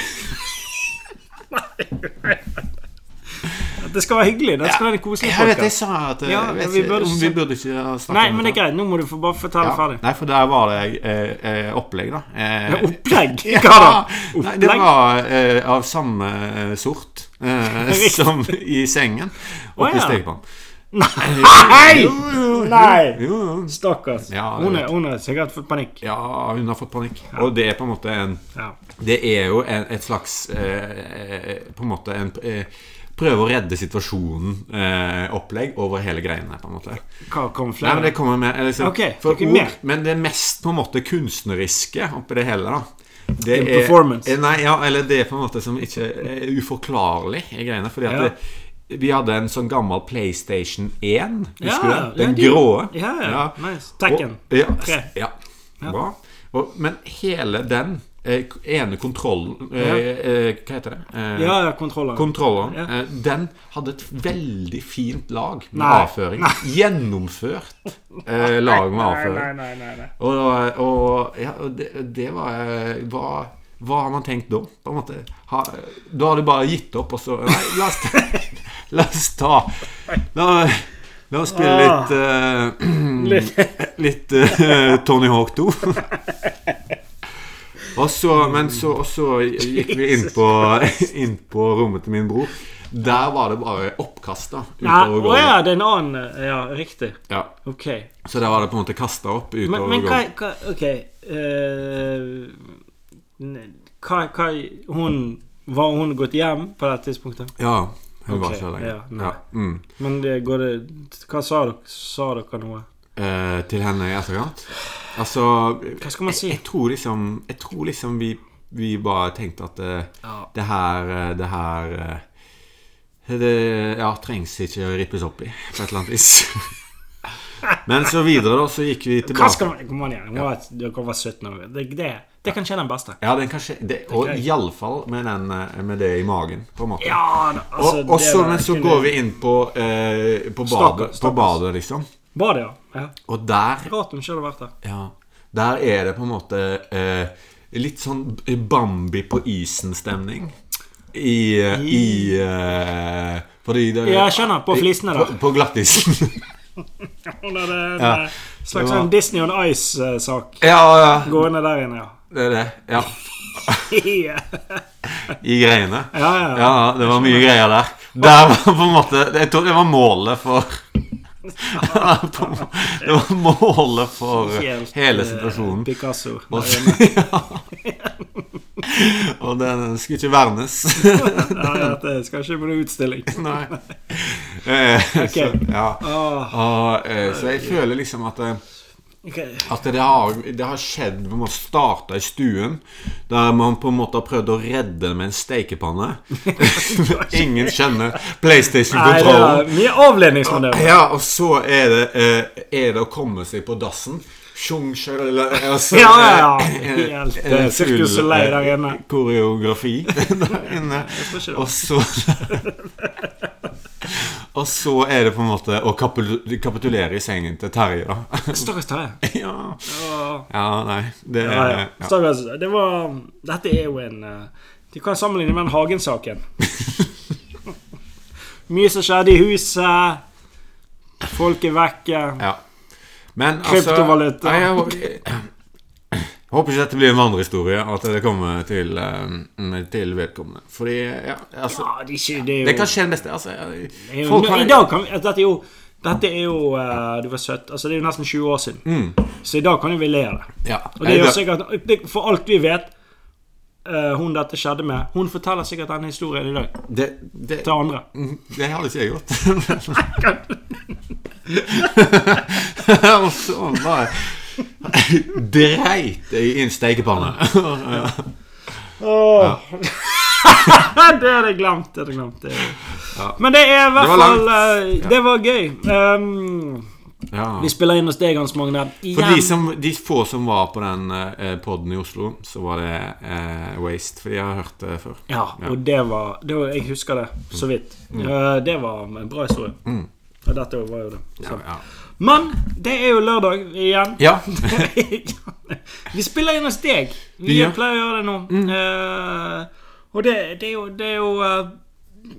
[SPEAKER 2] Det skal være hyggelig. Det skal være en koselig
[SPEAKER 1] Jeg vet jeg
[SPEAKER 2] podcast.
[SPEAKER 1] sa at eh,
[SPEAKER 2] Ja,
[SPEAKER 1] jeg vet
[SPEAKER 2] vi
[SPEAKER 1] ikke,
[SPEAKER 2] burde
[SPEAKER 1] om
[SPEAKER 2] ikke-
[SPEAKER 1] vi burde ikke ha snakket
[SPEAKER 2] Nei,
[SPEAKER 1] om
[SPEAKER 2] men det er
[SPEAKER 1] dette.
[SPEAKER 2] greit. Nå må du få bare fortelle
[SPEAKER 1] Ja.
[SPEAKER 2] ferdig.
[SPEAKER 1] Nei, for der var det eh, eh, opplegg, da. Eh,
[SPEAKER 2] Opplegg?
[SPEAKER 1] Ja.
[SPEAKER 2] Hva da?
[SPEAKER 1] Nei, det
[SPEAKER 2] Opplegg?
[SPEAKER 1] var eh, av samme eh, sort eh,
[SPEAKER 2] Riktig.
[SPEAKER 1] som i sengen. Oppi
[SPEAKER 2] Å, ja.
[SPEAKER 1] stekepannen.
[SPEAKER 2] Nei!
[SPEAKER 1] Jo, jo, jo,
[SPEAKER 2] Nei!
[SPEAKER 1] Jo, jo.
[SPEAKER 2] Stakkars.
[SPEAKER 1] Ja,
[SPEAKER 2] hun,
[SPEAKER 1] jeg
[SPEAKER 2] er, hun er sikkert fått panikk.
[SPEAKER 1] Ja, hun har fått panikk. Og det er på en måte en
[SPEAKER 2] Ja.
[SPEAKER 1] Det er jo en, et slags eh, eh, På en måte en eh, Prøve å redde situasjonen-opplegg over hele greiene. på en måte
[SPEAKER 2] Hva kom
[SPEAKER 1] Nei, men det
[SPEAKER 2] flere?
[SPEAKER 1] kommer med eller liksom,
[SPEAKER 2] Ok,
[SPEAKER 1] for
[SPEAKER 2] dere
[SPEAKER 1] ord,
[SPEAKER 2] mer.
[SPEAKER 1] Men det mest på en måte kunstneriske oppi det hele, da. Det
[SPEAKER 2] En performance.
[SPEAKER 1] eh, Nei, ja, eller det er på en måte som ikke er uforklarlig i greiene. Fordi at
[SPEAKER 2] Ja.
[SPEAKER 1] det, vi hadde en sånn gammel PlayStation 1,
[SPEAKER 2] Ja,
[SPEAKER 1] husker du den? Den
[SPEAKER 2] ja, de-
[SPEAKER 1] grå.
[SPEAKER 2] Ja, ja. Nice. Tekken.
[SPEAKER 1] Og, ja,
[SPEAKER 2] Tre.
[SPEAKER 1] ja. Bra. Og, men hele den eh, ene kontrollen eh, eh, Hva heter det? Eh,
[SPEAKER 2] Ja, ja, kontroller.
[SPEAKER 1] Kontrolleren
[SPEAKER 2] Ja.
[SPEAKER 1] eh, Den hadde et veldig fint lag med
[SPEAKER 2] Nei.
[SPEAKER 1] avføring. Gjennomført eh, lag med avføring.
[SPEAKER 2] Nei, nei, nei, nei.
[SPEAKER 1] Og, og, ja, og det, det var eh, hva, hva har man tenkt da? På en måte? Ha, da har du bare gitt opp, og så Nei, la oss, la oss ta La, la oss spille
[SPEAKER 2] Ah.
[SPEAKER 1] litt eh, Litt eh, Tony Hawk 2. Og så, men så, og så gikk vi inn på, inn på rommet til min bror. Der var det bare oppkast, da.
[SPEAKER 2] Ja,
[SPEAKER 1] Utover
[SPEAKER 2] å ja,
[SPEAKER 1] gulvet.
[SPEAKER 2] det er en annen Ja, riktig.
[SPEAKER 1] Ja,
[SPEAKER 2] Ok.
[SPEAKER 1] så der var det på en måte kasta opp utover
[SPEAKER 2] Men, men hva,
[SPEAKER 1] gulvet.
[SPEAKER 2] hva Ok. eh, ne- hva, hva hun, Var hun gått hjem på det tidspunktet?
[SPEAKER 1] Ja, hun var
[SPEAKER 2] Ok,
[SPEAKER 1] ikke der
[SPEAKER 2] ja,
[SPEAKER 1] lenger.
[SPEAKER 2] nei.
[SPEAKER 1] Ja, mm.
[SPEAKER 2] Men det går det Hva sa dere? Sa dere noe?
[SPEAKER 1] eh, til henne i etterkant. Altså
[SPEAKER 2] Hva skal man si?
[SPEAKER 1] Jeg tror liksom, jeg tror liksom vi, vi bare tenkte at eh,
[SPEAKER 2] Ja.
[SPEAKER 1] det her eh, Det her eh, det, ja, trengs ikke å rippes opp i på et eller annet vis. Men så videre, da, så gikk vi
[SPEAKER 2] Hva
[SPEAKER 1] tilbake.
[SPEAKER 2] skal man Kom an igjen. Ja. Dere var 17 år. Det, det, det kan skje den beste.
[SPEAKER 1] Ja, den kanskje, det, og iallfall med, den, eh, med det i magen, på en måte.
[SPEAKER 2] Ja, da, altså,
[SPEAKER 1] og og
[SPEAKER 2] det
[SPEAKER 1] så,
[SPEAKER 2] var
[SPEAKER 1] men så
[SPEAKER 2] ikke-
[SPEAKER 1] går vi inn på, eh, på, badet,
[SPEAKER 2] Stakkars,
[SPEAKER 1] på
[SPEAKER 2] stakkars.
[SPEAKER 1] badet, liksom.
[SPEAKER 2] Var det, ja? ja.
[SPEAKER 1] Og der
[SPEAKER 2] Rart hun ikke hadde vært der.
[SPEAKER 1] Ja. Der er det på en måte eh, litt sånn Bambi på isen-stemning. I, eh, i eh, Fordi det
[SPEAKER 2] Ja, jeg skjønner, på flisene
[SPEAKER 1] På,
[SPEAKER 2] der.
[SPEAKER 1] på glattisen.
[SPEAKER 2] Hun hadde en
[SPEAKER 1] Ja.
[SPEAKER 2] eh, slags
[SPEAKER 1] Det var-
[SPEAKER 2] sånn Disney on Ice-sak
[SPEAKER 1] ja, ja,
[SPEAKER 2] gående der inne, ja.
[SPEAKER 1] det er det. Ja.
[SPEAKER 2] ja,
[SPEAKER 1] I greiene.
[SPEAKER 2] ja, ja.
[SPEAKER 1] Ja, det var mye greier der. Der var på en måte Jeg tror det var målet for Det var målet for
[SPEAKER 2] Helt,
[SPEAKER 1] hele
[SPEAKER 2] eh,
[SPEAKER 1] situasjonen.
[SPEAKER 2] Picasso. der
[SPEAKER 1] Og,
[SPEAKER 2] inne.
[SPEAKER 1] og den skulle ikke vernes.
[SPEAKER 2] Ja, ja, det skal ikke på noen utstilling.
[SPEAKER 1] Nei. Eh, så,
[SPEAKER 2] Ok.
[SPEAKER 1] ja.
[SPEAKER 2] Åh,
[SPEAKER 1] Og, eh, så jeg føler liksom at, eh,
[SPEAKER 2] ok.
[SPEAKER 1] at det, har, det har skjedd Vi må starte i stuen, der man på en måte har prøvd å redde det med en stekepanne. Ingen
[SPEAKER 2] Nei,
[SPEAKER 1] kjenner
[SPEAKER 2] det var
[SPEAKER 1] PlayStation-kontrollen.
[SPEAKER 2] mye avledningsmanøver.
[SPEAKER 1] Ja, og så er det, eh, er det å komme seg på dassen. Sjung, sjøl, eller altså,
[SPEAKER 2] Ja, ja, ja.
[SPEAKER 1] eh, eh,
[SPEAKER 2] Helt,
[SPEAKER 1] eh,
[SPEAKER 2] eh, Circus
[SPEAKER 1] full,
[SPEAKER 2] du Soleil der
[SPEAKER 1] eh,
[SPEAKER 2] inne.
[SPEAKER 1] Koreografi der inne.
[SPEAKER 2] Jeg tror ikke det
[SPEAKER 1] Og
[SPEAKER 2] var-
[SPEAKER 1] så Og så er det på en måte å kapitul- kapitulere i sengen til Terje, da.
[SPEAKER 2] Stakkars Terje.
[SPEAKER 1] ja.
[SPEAKER 2] Åh.
[SPEAKER 1] ja, nei Det
[SPEAKER 2] Ja, ja.
[SPEAKER 1] er ja.
[SPEAKER 2] Stakkars. Det var Dette er jo en eh, Du kan sammenligne med den Hagen-saken. Mye som skjedde i huset. Folk er vekke.
[SPEAKER 1] Ja. Men altså-
[SPEAKER 2] Kryptovaluta.
[SPEAKER 1] nei, jeg, hå- jeg håper ikke dette blir en vandrehistorie, at det kommer til, eh, til vedkommende. Fordi ja, altså
[SPEAKER 2] Ja, det er ikke det er jo,
[SPEAKER 1] Det kan skje det neste. Altså, jeg-
[SPEAKER 2] det er jo,
[SPEAKER 1] folk har-
[SPEAKER 2] I dag kan vi altså, Dette er jo, dette er jo eh, Du var søt. Altså, det er jo nesten 20 år siden.
[SPEAKER 1] Mm.
[SPEAKER 2] Så i dag kan jo vi le av det.
[SPEAKER 1] ja,
[SPEAKER 2] Og det er
[SPEAKER 1] jeg-
[SPEAKER 2] jo sikkert det- For alt vi vet, eh, hun dette skjedde med Hun forteller sikkert denne historien i dag
[SPEAKER 1] det, det,
[SPEAKER 2] til andre.
[SPEAKER 1] Mm, det hadde ikke jeg gjort. Og så bare Sånn dreit jeg i en stekepanne.
[SPEAKER 2] Åh. det hadde jeg glemt. Det hadde jeg glemt. Det.
[SPEAKER 1] Ja.
[SPEAKER 2] Men det er i hvert
[SPEAKER 1] Det var
[SPEAKER 2] fall
[SPEAKER 1] langt.
[SPEAKER 2] eh, Det var gøy. Um,
[SPEAKER 1] Ja.
[SPEAKER 2] vi spiller inn hos deg, Hans Magne.
[SPEAKER 1] For
[SPEAKER 2] Igjen.
[SPEAKER 1] de, som, de få som var på den eh, podden i Oslo, så var det eh, waste. Fordi jeg har hørt det før.
[SPEAKER 2] Ja, og det var, det var Jeg husker det så vidt.
[SPEAKER 1] Mm.
[SPEAKER 2] Eh, det var en bra historie. Og dette var jo det.
[SPEAKER 1] Ja,
[SPEAKER 2] Så.
[SPEAKER 1] ja.
[SPEAKER 2] Men det er jo lørdag igjen.
[SPEAKER 1] ja.
[SPEAKER 2] vi spiller inn hos deg. Vi
[SPEAKER 1] Ja. Mm.
[SPEAKER 2] pleier å gjøre det nå. Eh, og det, det er jo Det er jo, eh,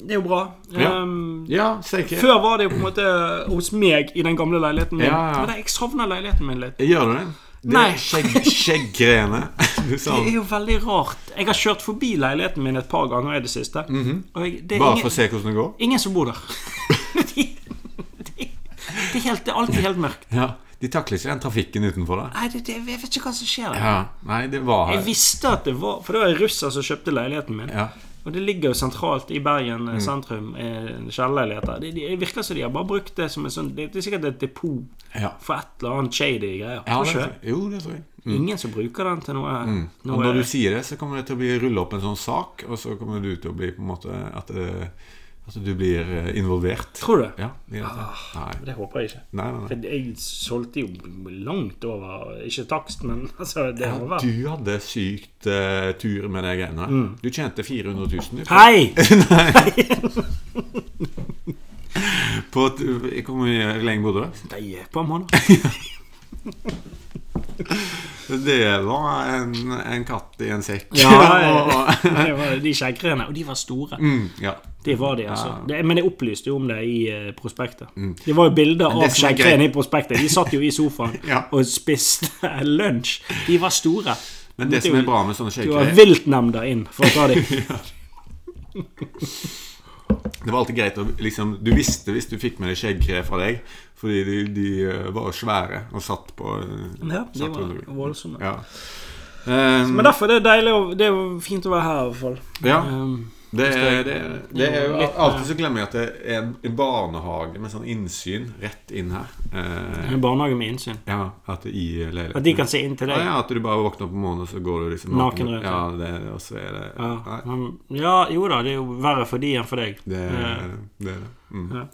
[SPEAKER 2] det er jo bra.
[SPEAKER 1] Ja.
[SPEAKER 2] Um,
[SPEAKER 1] ja steike.
[SPEAKER 2] Før var det jo på en måte eh, hos meg i den gamle leiligheten min.
[SPEAKER 1] Ja, ja.
[SPEAKER 2] Men det- Jeg savner leiligheten min litt.
[SPEAKER 1] Gjør du det? det
[SPEAKER 2] Nei.
[SPEAKER 1] er Skjegg, skjegggreiene. Du sa
[SPEAKER 2] Det er jo veldig rart. Jeg har kjørt forbi leiligheten min et par ganger i det siste. Og jeg, det er
[SPEAKER 1] Mhm. Bare for
[SPEAKER 2] ingen,
[SPEAKER 1] å se hvordan det går?
[SPEAKER 2] ingen som bor der. det, det, det, er helt, det er alltid helt mørkt.
[SPEAKER 1] Ja. De takler ikke den trafikken utenfor der.
[SPEAKER 2] Nei, det, det, jeg vet ikke hva som skjer der.
[SPEAKER 1] Ja. Nei, det var
[SPEAKER 2] Jeg visste at det var For det var en russer som kjøpte leiligheten min.
[SPEAKER 1] Ja.
[SPEAKER 2] Og det ligger jo sentralt i Bergen
[SPEAKER 1] Mm.
[SPEAKER 2] eh, sentrum. eh, en Kjellerleilighet der. Det, det, det virker som de har bare brukt det som en sånn Det, det er sikkert et depot
[SPEAKER 1] ja.
[SPEAKER 2] for et eller annet shady greier.
[SPEAKER 1] ja
[SPEAKER 2] Tror
[SPEAKER 1] det
[SPEAKER 2] ikke
[SPEAKER 1] tror
[SPEAKER 2] det?
[SPEAKER 1] jeg. Jo, det tror jeg. Mm.
[SPEAKER 2] Ingen som bruker den til noe,
[SPEAKER 1] Og
[SPEAKER 2] noe
[SPEAKER 1] når du sier det, så kommer det til å bli rulle opp en sånn sak, og så kommer du til å bli på en måte At, eh, at du blir eh, involvert.
[SPEAKER 2] Tror du?
[SPEAKER 1] Ja, i dette. Nei.
[SPEAKER 2] Det håper jeg ikke.
[SPEAKER 1] Nei, nei, nei.
[SPEAKER 2] For jeg solgte jo langt over Ikke takst, men altså, det må
[SPEAKER 1] Ja,
[SPEAKER 2] være
[SPEAKER 1] du hadde sykt eh, tur med de greiene. der.
[SPEAKER 2] Mm.
[SPEAKER 1] Du tjente 400 000 på,
[SPEAKER 2] Hei!
[SPEAKER 1] på et- Hvor mye hvor lenge bodde du?
[SPEAKER 2] Nei, et par måneder.
[SPEAKER 1] Det var en, en katt i en sekk.
[SPEAKER 2] Ja,
[SPEAKER 1] Og-
[SPEAKER 2] Det var de skjeggreiene. Og de var store.
[SPEAKER 1] mm, ja.
[SPEAKER 2] Det var de, altså. Det, men jeg opplyste jo om det i eh, prospektet. Det var jo bilder
[SPEAKER 1] Mm.
[SPEAKER 2] av
[SPEAKER 1] det som er
[SPEAKER 2] skjeggreiene i prospektet. De satt jo i sofaen
[SPEAKER 1] Ja.
[SPEAKER 2] og spiste lunsj. De var store.
[SPEAKER 1] Men det som er bra med sånne
[SPEAKER 2] Du har
[SPEAKER 1] shaker,
[SPEAKER 2] viltnemnda inn for å ta dem.
[SPEAKER 1] det var alltid greit å liksom Du visste hvis du fikk med deg skjeggkre fra deg, fordi de, de eh, var svære og satt på eh,
[SPEAKER 2] Ja, de
[SPEAKER 1] satt
[SPEAKER 2] var
[SPEAKER 1] rundt omkring.
[SPEAKER 2] voldsomme.
[SPEAKER 1] Ja. Eh,
[SPEAKER 2] Men derfor er det deilig å- Det er jo fint å være her, i hvert fall.
[SPEAKER 1] ja.
[SPEAKER 2] Um,
[SPEAKER 1] Det er, det, er, det er jo
[SPEAKER 2] Litt mer.
[SPEAKER 1] Alltid så glemmer jeg at det er en- en barnehage med sånn innsyn rett inn her. Eh,
[SPEAKER 2] en barnehage med innsyn.
[SPEAKER 1] ja, at det i leiligheten.
[SPEAKER 2] At de kan se inn til
[SPEAKER 1] ja,
[SPEAKER 2] deg.
[SPEAKER 1] ja, At du bare våkner opp om morgenen, og så går du liksom
[SPEAKER 2] Naken rundt,
[SPEAKER 1] Ja, det, og så er det
[SPEAKER 2] Ja.
[SPEAKER 1] Nei,
[SPEAKER 2] men- ja, jo da, det er jo verre for de enn for deg.
[SPEAKER 1] det,
[SPEAKER 2] Eh,
[SPEAKER 1] er- det er det. Mm.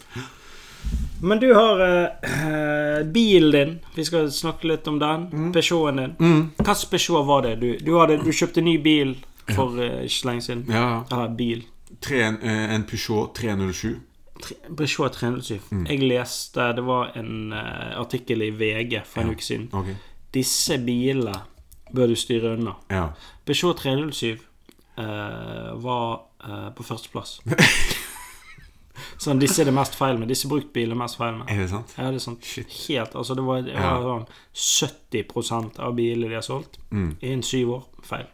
[SPEAKER 2] Men du har eh, eh, bilen din. Vi skal snakke litt om den.
[SPEAKER 1] Mm.
[SPEAKER 2] Peugeoten din. Hvilken Peugeot var det? Du, du, hadde, du kjøpte ny bil for eh, ikke så lenge siden.
[SPEAKER 1] Ja, ja.
[SPEAKER 2] Ja, bil.
[SPEAKER 1] Tre, en, eh, en Peugeot 307.
[SPEAKER 2] Tre- Peugeot 307.
[SPEAKER 1] Mm.
[SPEAKER 2] Jeg leste Det var en eh, artikkel i VG for en uke siden.
[SPEAKER 1] Ok.
[SPEAKER 2] Disse bilene bør du styre unna.
[SPEAKER 1] Ja.
[SPEAKER 2] Peugeot 307 eh, var eh, på førsteplass. sånn, disse er det mest feil med. Disse bruktbilene er mest feil med.
[SPEAKER 1] Er det sant?
[SPEAKER 2] Ja, det er sånn
[SPEAKER 1] Shit.
[SPEAKER 2] helt Altså, det var, det
[SPEAKER 1] Ja.
[SPEAKER 2] var sånn 70 av bilene de har solgt innen syv år. Feil.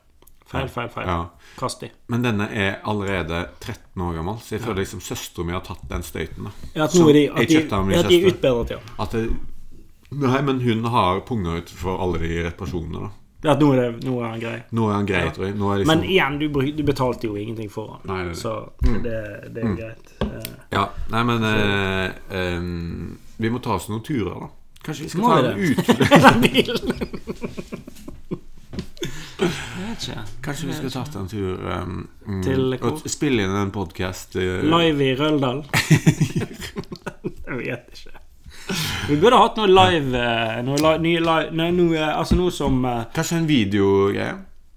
[SPEAKER 2] Feil, feil, feil.
[SPEAKER 1] Mm. Ja.
[SPEAKER 2] Kast de.
[SPEAKER 1] Men denne er allerede 13 år gammel, så jeg føler liksom søstera mi har tatt den støyten. da.
[SPEAKER 2] Ja, at nå er de,
[SPEAKER 1] Så
[SPEAKER 2] at
[SPEAKER 1] jeg
[SPEAKER 2] de,
[SPEAKER 1] kjøpte den med
[SPEAKER 2] ja, at de er
[SPEAKER 1] søster.
[SPEAKER 2] utbedret, ja.
[SPEAKER 1] At det, Nei, men hun har punga ut for alle de reparasjonene, da.
[SPEAKER 2] Ja, At nå er det nå er han grei.
[SPEAKER 1] Nå er han grei, tror jeg. Nå er liksom,
[SPEAKER 2] Men igjen, du, bruk- du betalte jo ingenting for han.
[SPEAKER 1] Nei, nei, nei.
[SPEAKER 2] Så det, det er jo greit. Eh,
[SPEAKER 1] ja, nei, men eh, em, Vi må ta oss noen turer, da. Kanskje vi skal
[SPEAKER 2] Må
[SPEAKER 1] ta
[SPEAKER 2] vi
[SPEAKER 1] en utur
[SPEAKER 2] Den bilen Jeg vet ikke.
[SPEAKER 1] Kanskje vi skal ta en tur em, mm,
[SPEAKER 2] Til hvor?
[SPEAKER 1] og t- spille inn en eh, podkast
[SPEAKER 2] Live i Røldal? jeg vet ikke. Vi burde hatt noe live eh, Noe, li, nye live nei, noe, eh, Altså noe som eh,
[SPEAKER 1] Kanskje en videogreie?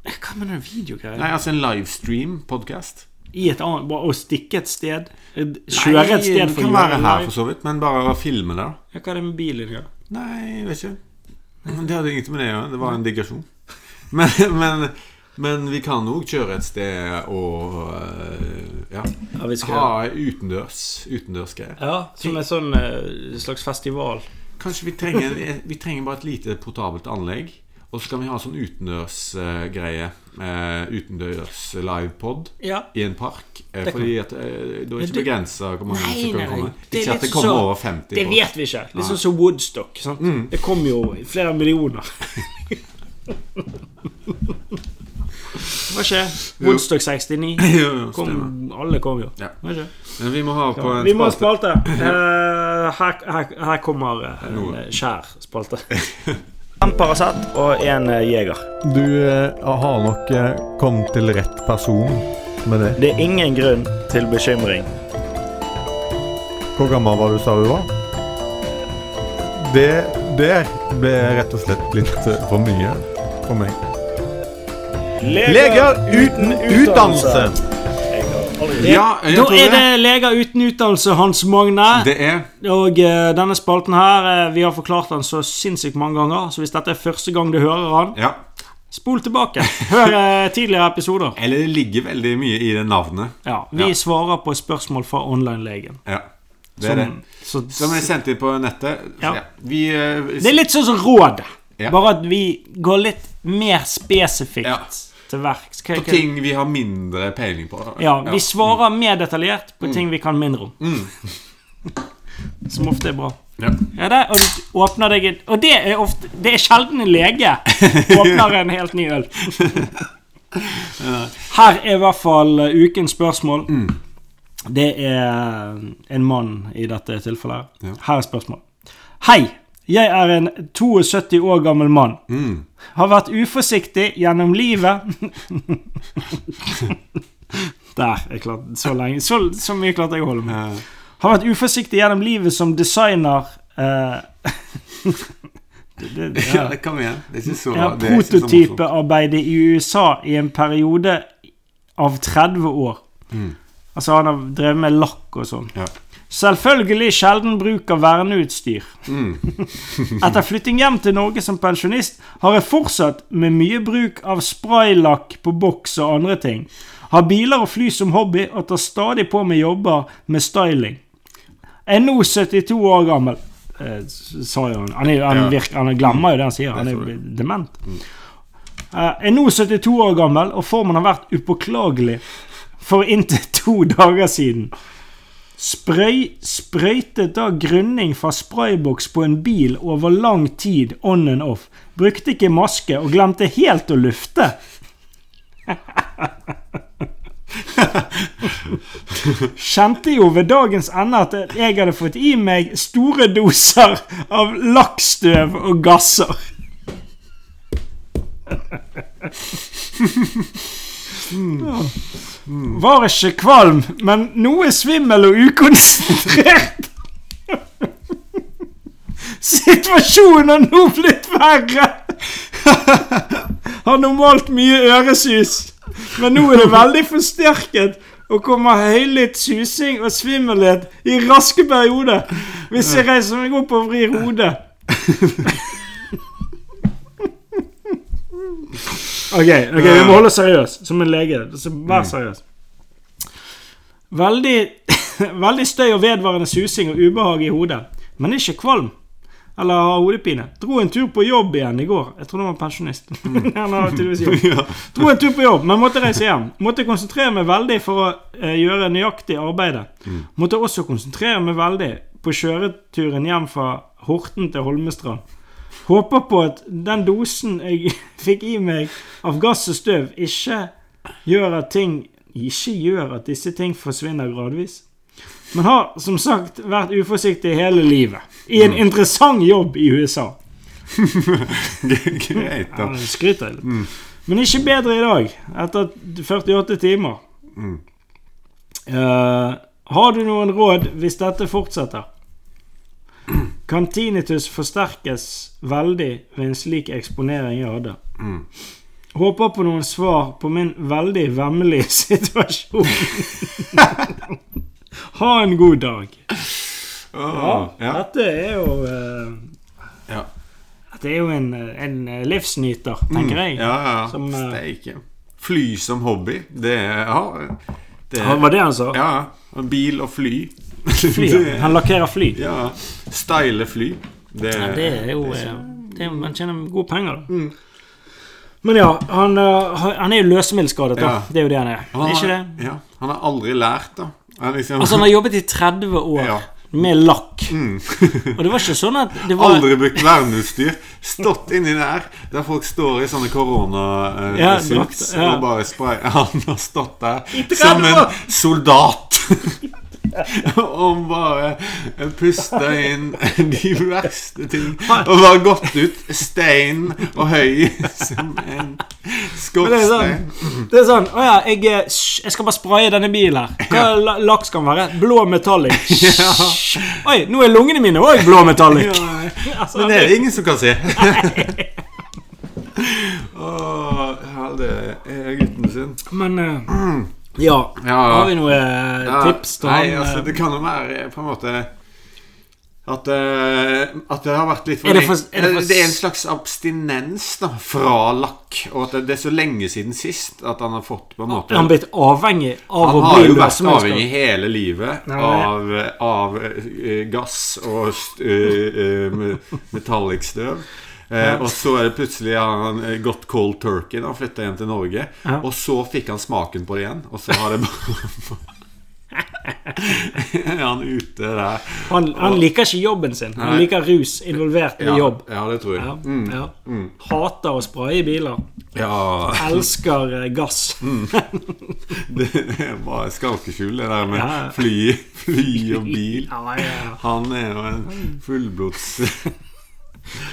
[SPEAKER 2] Hva mener du videogreier?
[SPEAKER 1] Nei, altså en livestream-podkast.
[SPEAKER 2] I et annet bare Å stikke et sted? Kjøre et sted for å
[SPEAKER 1] kan
[SPEAKER 2] gjøre
[SPEAKER 1] være
[SPEAKER 2] en
[SPEAKER 1] her, for
[SPEAKER 2] live?
[SPEAKER 1] så vidt, men bare å filme det. da.
[SPEAKER 2] Ja, hva er det med bilen gjør?
[SPEAKER 1] Nei, jeg vet ikke. Men Det hadde ingenting med det å gjøre. Det var en digresjon. Men, men Men vi kan òg kjøre et sted og eh, ja,
[SPEAKER 2] Ja, vi skal-
[SPEAKER 1] ha utendørs utendørsgreier.
[SPEAKER 2] Ja, som en sånn eh, slags festival.
[SPEAKER 1] Kanskje vi trenger, vi trenger bare et lite portabelt anlegg. Og så kan vi ha sånn utendørsgreie. Uh, utendørs livepod
[SPEAKER 2] Ja.
[SPEAKER 1] i en park. eh,
[SPEAKER 2] Det kan-
[SPEAKER 1] fordi at eh, da er
[SPEAKER 2] Ja,
[SPEAKER 1] ikke begrensa hvor mange
[SPEAKER 2] Nei,
[SPEAKER 1] som kan
[SPEAKER 2] nei,
[SPEAKER 1] komme.
[SPEAKER 2] det er
[SPEAKER 1] Ikke
[SPEAKER 2] litt
[SPEAKER 1] at det kommer
[SPEAKER 2] sånn-
[SPEAKER 1] over 50.
[SPEAKER 2] Det
[SPEAKER 1] på-
[SPEAKER 2] vet vi ikke. Litt sånn som Woodstock. Sant? Det kom jo flere millioner. Hva skjer? Woodstock 69.
[SPEAKER 1] Jo, jo, stemmer.
[SPEAKER 2] Kom, alle kom jo.
[SPEAKER 1] Ja.
[SPEAKER 2] Hva skjer?
[SPEAKER 1] Men vi må ha på en
[SPEAKER 2] Vi må ha
[SPEAKER 1] spalte.
[SPEAKER 2] spalte. Eh, her, her, her kommer eh, en
[SPEAKER 1] Noe.
[SPEAKER 2] skjær spalte. En Paracet og en eh, Jeger.
[SPEAKER 3] Du eh, har nok eh, kommet til rett person med det.
[SPEAKER 2] Det er ingen grunn til bekymring.
[SPEAKER 3] Hvor gammel var du, sa du var? Det der ble rett og slett litt eh, for mye for meg. Leger uten utdannelse!
[SPEAKER 1] Ja,
[SPEAKER 2] Da
[SPEAKER 1] jeg tror
[SPEAKER 2] er det leger uten utdannelse, Hans Magne.
[SPEAKER 1] Det er
[SPEAKER 2] Og eh, denne spalten her, eh, vi har forklart den så sinnssykt mange ganger, så hvis dette er første gang du hører han,
[SPEAKER 1] Ja.
[SPEAKER 2] spol tilbake. Hør eh, tidligere episoder.
[SPEAKER 1] Eller det ligger veldig mye i det navnet.
[SPEAKER 2] Ja, Vi
[SPEAKER 1] Ja.
[SPEAKER 2] svarer på spørsmål fra online-legen.
[SPEAKER 1] Ja, det er det.
[SPEAKER 2] Så,
[SPEAKER 1] Som jeg sendte inn på nettet.
[SPEAKER 2] Ja.
[SPEAKER 1] Ja. Vi eh,
[SPEAKER 2] det er litt sånn som råd,
[SPEAKER 1] Ja.
[SPEAKER 2] bare at vi går litt mer spesifikt
[SPEAKER 1] Ja.
[SPEAKER 2] til verks. Hva-
[SPEAKER 1] på
[SPEAKER 2] hva-
[SPEAKER 1] ting vi har mindre peiling på.
[SPEAKER 2] Ja, vi svarer mer detaljert
[SPEAKER 1] Mm.
[SPEAKER 2] på ting vi kan mindre om. Som ofte er bra.
[SPEAKER 1] Ja.
[SPEAKER 2] Ja, det, og du åpner deg en, Og det er, ofte, det er sjelden en lege åpner en helt ny øl. Her er i hvert fall eh, ukens spørsmål. Det er eh, en mann i dette tilfellet. her.
[SPEAKER 1] Ja.
[SPEAKER 2] Her er spørsmål. Hei! Jeg er en 72 år gammel mann.
[SPEAKER 1] Mm.
[SPEAKER 2] Har vært uforsiktig gjennom livet. Der. Jeg klarte, så, lenge, så, så mye klarte jeg å holde med.
[SPEAKER 1] Eh,
[SPEAKER 2] Har vært uforsiktig gjennom livet som designer eh, det, det,
[SPEAKER 1] ja,
[SPEAKER 2] ja.
[SPEAKER 1] det kom igjen. Det er ikke så
[SPEAKER 2] Ja,
[SPEAKER 1] det er ikke så morsomt.
[SPEAKER 2] Prototypearbeidet i USA i en periode av 30 år.
[SPEAKER 1] Mm.
[SPEAKER 2] Altså han har drevet med lakk og sånn.
[SPEAKER 1] Ja.
[SPEAKER 2] Selvfølgelig sjelden bruk av verneutstyr.
[SPEAKER 1] Mm.
[SPEAKER 2] Etter flytting hjem til Norge som pensjonist har jeg fortsatt med mye bruk av spraylakk på boks og andre ting. Har biler og fly som hobby og tar stadig på med jobber med styling. Er nå 72 år gammel. Eh, sa jo han. Han, er, han,
[SPEAKER 1] Ja.
[SPEAKER 2] virker, han glemmer jo det han sier. Han er
[SPEAKER 1] tror Mm.
[SPEAKER 2] jo dement. Eh, er nå 72 år gammel, og formen har vært upåklagelig for inntil to dager siden. Sprøy, sprøytet da grunning fra sprayboks på en bil over lang tid on and off. Brukte ikke maske og glemte helt å lufte. Kjente jo ved dagens ende at jeg hadde fått i meg store doser av lakkstøv og gasser. Var ikke kvalm, men noe svimmel og ukonsentrert. Situasjonen har nå blitt verre. Har normalt mye øresus, men nå er det veldig forsterket og kommer høylytt susing og svimmelhet i raske perioder hvis jeg reiser meg opp og vrir hodet. Ok, ok, vi må holde oss seriøs som en lege. Så vær seriøs. Veldig, veldig støy og vedvarende susing og ubehag i hodet, men ikke kvalm. Eller har hodepine. Dro en tur på jobb igjen i går. Jeg trodde han var pensjonist. han har tydeligvis jobb.
[SPEAKER 1] Ja.
[SPEAKER 2] Dro en tur på jobb, men måtte reise hjem. Måtte konsentrere meg veldig for å eh, gjøre nøyaktig arbeidet. Måtte også konsentrere meg veldig på kjøreturen hjem fra Horten til Holmestrand. Håper på at den dosen jeg fikk i meg av gass og støv, ikke gjør at ting Ikke gjør at disse ting forsvinner gradvis. Men har som sagt vært uforsiktig hele livet. I en interessant jobb i USA.
[SPEAKER 1] Greit, da.
[SPEAKER 2] Ja, det skryter jeg litt. Men ikke bedre i dag, etter 48 timer. Eh, har du noen råd hvis dette fortsetter? Kan tinnitus forsterkes veldig ved en slik eksponering jeg hadde? Håper på noen svar på min veldig vemmelige situasjon. ha en god dag.
[SPEAKER 1] Åh, ja.
[SPEAKER 2] Dette er jo eh,
[SPEAKER 1] Ja.
[SPEAKER 2] Dette er jo en, en livsnyter, tenker jeg.
[SPEAKER 1] Mm. Ja, ja.
[SPEAKER 2] Som, eh,
[SPEAKER 1] Steike. Fly som hobby. Det er Ja. Det
[SPEAKER 2] Ja, Var det han sa?
[SPEAKER 1] Ja. ja. Bil og fly.
[SPEAKER 2] Fly, ja.
[SPEAKER 1] Det-
[SPEAKER 2] Han lakkerer fly.
[SPEAKER 1] ja. Style fly. Det,
[SPEAKER 2] Ja, det er jo eh, det er, Man tjener gode penger, da. Mm. Men ja, han, eh, han er jo løsemiddelskadet, da.
[SPEAKER 1] Ja.
[SPEAKER 2] Det er jo det han er.
[SPEAKER 1] Han
[SPEAKER 2] er ikke det?
[SPEAKER 1] har- Ja, han har aldri lært, da. Han er liksom
[SPEAKER 2] Altså, han har jobbet i 30 år
[SPEAKER 1] Ja. Mm.
[SPEAKER 2] med lakk. Og det var ikke sånn at det var
[SPEAKER 1] Aldri brukt verneutstyr. Stått inni der der folk står i sånne
[SPEAKER 2] Ja,
[SPEAKER 1] koronasuits ja,
[SPEAKER 2] drakt, ja.
[SPEAKER 1] og bare sprayer. Han har stått der
[SPEAKER 2] 30
[SPEAKER 1] som en
[SPEAKER 2] år.
[SPEAKER 1] soldat. og bare pusta inn de verste ting. Og bare gått ut stein og høy som
[SPEAKER 2] Men
[SPEAKER 1] en
[SPEAKER 2] det er
[SPEAKER 1] skorstein.
[SPEAKER 2] sånn, det er sånn Å ja, jeg, eh, sj, jeg skal bare spraye denne bilen her. Hva la- lakk skal den være? Blå metallic.
[SPEAKER 1] Ja.
[SPEAKER 2] Oi, nå er lungene mine òg blå metallic.
[SPEAKER 1] Ja,
[SPEAKER 2] Altså,
[SPEAKER 1] men eh, det er det ingen som kan se. Åh, ja, det er gutten sin.
[SPEAKER 2] Men eh, ja.
[SPEAKER 1] Ja.
[SPEAKER 2] Har vi noen eh,
[SPEAKER 1] Ja,
[SPEAKER 2] tips til
[SPEAKER 1] nei,
[SPEAKER 2] han?
[SPEAKER 1] altså,
[SPEAKER 2] eh,
[SPEAKER 1] det kan jo være på en måte at, eh, at det har vært litt
[SPEAKER 2] Er det for- er
[SPEAKER 1] er
[SPEAKER 2] det
[SPEAKER 1] det,
[SPEAKER 2] for-
[SPEAKER 1] er en slags abstinens da, fra lakk. Og at det, det er så lenge siden sist at han har fått på en måte
[SPEAKER 2] han blitt avhengig av
[SPEAKER 1] Han
[SPEAKER 2] å
[SPEAKER 1] har
[SPEAKER 2] bli
[SPEAKER 1] jo vært avhengig
[SPEAKER 2] løsemiddelskadet?
[SPEAKER 1] hele livet
[SPEAKER 2] Nei.
[SPEAKER 1] av, av eh, gass og st- eh, eh, me- metallic-støv. Eh, og så er det plutselig har han eh, gått cold turkey da han flytta hjem til Norge.
[SPEAKER 2] Ja.
[SPEAKER 1] Og så fikk han smaken på det igjen, og så har det bare Er han ute der?
[SPEAKER 2] Han, han liker ikke jobben sin. Han
[SPEAKER 1] Nei.
[SPEAKER 2] liker rus involvert i jobb.
[SPEAKER 1] ja, Mm. det tror jeg.
[SPEAKER 2] Ja, ja. Hater å spraye biler.
[SPEAKER 1] Ja,
[SPEAKER 2] Elsker eh, gass.
[SPEAKER 1] Mm, Det er bare skalkeskjul, det der med
[SPEAKER 2] Ja.
[SPEAKER 1] fly, fly og bil.
[SPEAKER 2] Ja, ja, ja.
[SPEAKER 1] Han er jo en fullblods eh,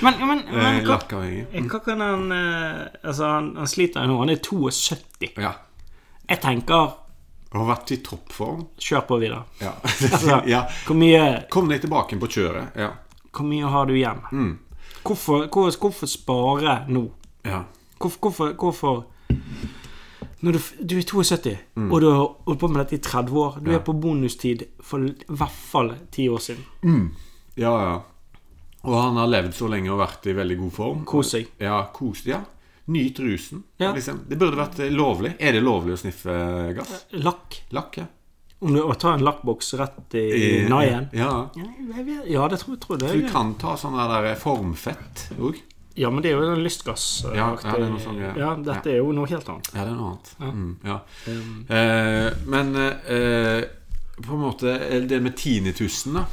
[SPEAKER 2] Men, men, men hva,
[SPEAKER 1] lakkavhengig.
[SPEAKER 2] hva kan han eh, Altså, han, han sliter jo nå. Han er 72.
[SPEAKER 1] Ja.
[SPEAKER 2] Jeg tenker
[SPEAKER 1] Og har vært i toppform.
[SPEAKER 2] kjør på, Vidar.
[SPEAKER 1] Ja.
[SPEAKER 2] Altså,
[SPEAKER 1] ja.
[SPEAKER 2] hvor, mye,
[SPEAKER 1] Kom deg tilbake på kjøret. Ja.
[SPEAKER 2] hvor mye har du igjen?
[SPEAKER 1] Mm.
[SPEAKER 2] Hvorfor, hvor, hvorfor spare nå?
[SPEAKER 1] ja.
[SPEAKER 2] Hvorfor, hvorfor, hvorfor Når du, f- du er 72,
[SPEAKER 1] Mm.
[SPEAKER 2] og du har holdt på med dette i 30 år Du er på bonustid for l- i hvert fall 10 år siden.
[SPEAKER 1] Ja, ja. Og han har levd så lenge og vært i veldig god form.
[SPEAKER 2] Kos deg.
[SPEAKER 1] Ja, kos, ja. Nyt rusen.
[SPEAKER 2] Ja.
[SPEAKER 1] Liksom. Det burde vært eh, lovlig. Er det lovlig å sniffe gass?
[SPEAKER 2] Lakk.
[SPEAKER 1] Lakk, ja.
[SPEAKER 2] Om du og tar en lakkboks rett i, i
[SPEAKER 1] I-
[SPEAKER 2] naien
[SPEAKER 1] Ja.
[SPEAKER 2] Ja, jeg vet- ja, det tror jeg tror det.
[SPEAKER 1] Du
[SPEAKER 2] er-
[SPEAKER 1] kan ta sånn der eh, formfett òg.
[SPEAKER 2] Ja, men det er jo en lystgass. eh,
[SPEAKER 1] Ja, ja, det er noe
[SPEAKER 2] aktig-
[SPEAKER 1] sånn, ja.
[SPEAKER 2] ja, dette er jo noe helt annet.
[SPEAKER 1] Ja, det er noe annet. Mm, ja. Eh, men eh, på en måte det med tinnitusen, da.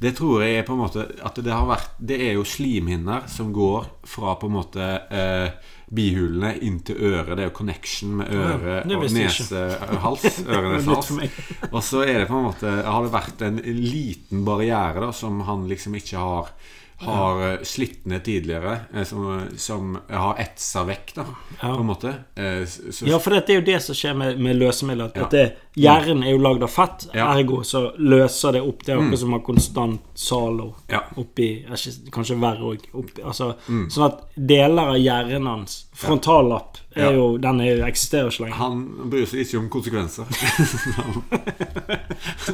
[SPEAKER 1] Det tror jeg er på en måte at det har vært Det er jo slimhinner som går fra på en måte eh, bihulene inn til øret. Det er jo connection med øre
[SPEAKER 2] det
[SPEAKER 1] og
[SPEAKER 2] visste jeg ikke.
[SPEAKER 1] nese, eh, hals. Øre,
[SPEAKER 2] Det
[SPEAKER 1] nese,
[SPEAKER 2] er nytt for meg.
[SPEAKER 1] hals. Og så er det på en måte Har det vært en liten barriere da Som han liksom ikke har Har eh, slitt ned tidligere eh, Som, som har etsa vekk da På en måte Eh, s- så,
[SPEAKER 2] Ja, for dette er jo det som skjer med, med løsemidler. At
[SPEAKER 1] Ja.
[SPEAKER 2] det, hjernen er jo lagd av fett,
[SPEAKER 1] Ja. Mm.
[SPEAKER 2] ergo så løser det opp. Det er akkurat som å ha konstant Zalo
[SPEAKER 1] Ja. mm.
[SPEAKER 2] oppi er ikke- Kanskje verre òg. Altså, Sånn at deler av hjernen hans, frontallapp,
[SPEAKER 1] Ja.
[SPEAKER 2] er jo, den er, jo- eksisterer jo ikke lenger.
[SPEAKER 1] Han bryr seg ikke om konsekvenser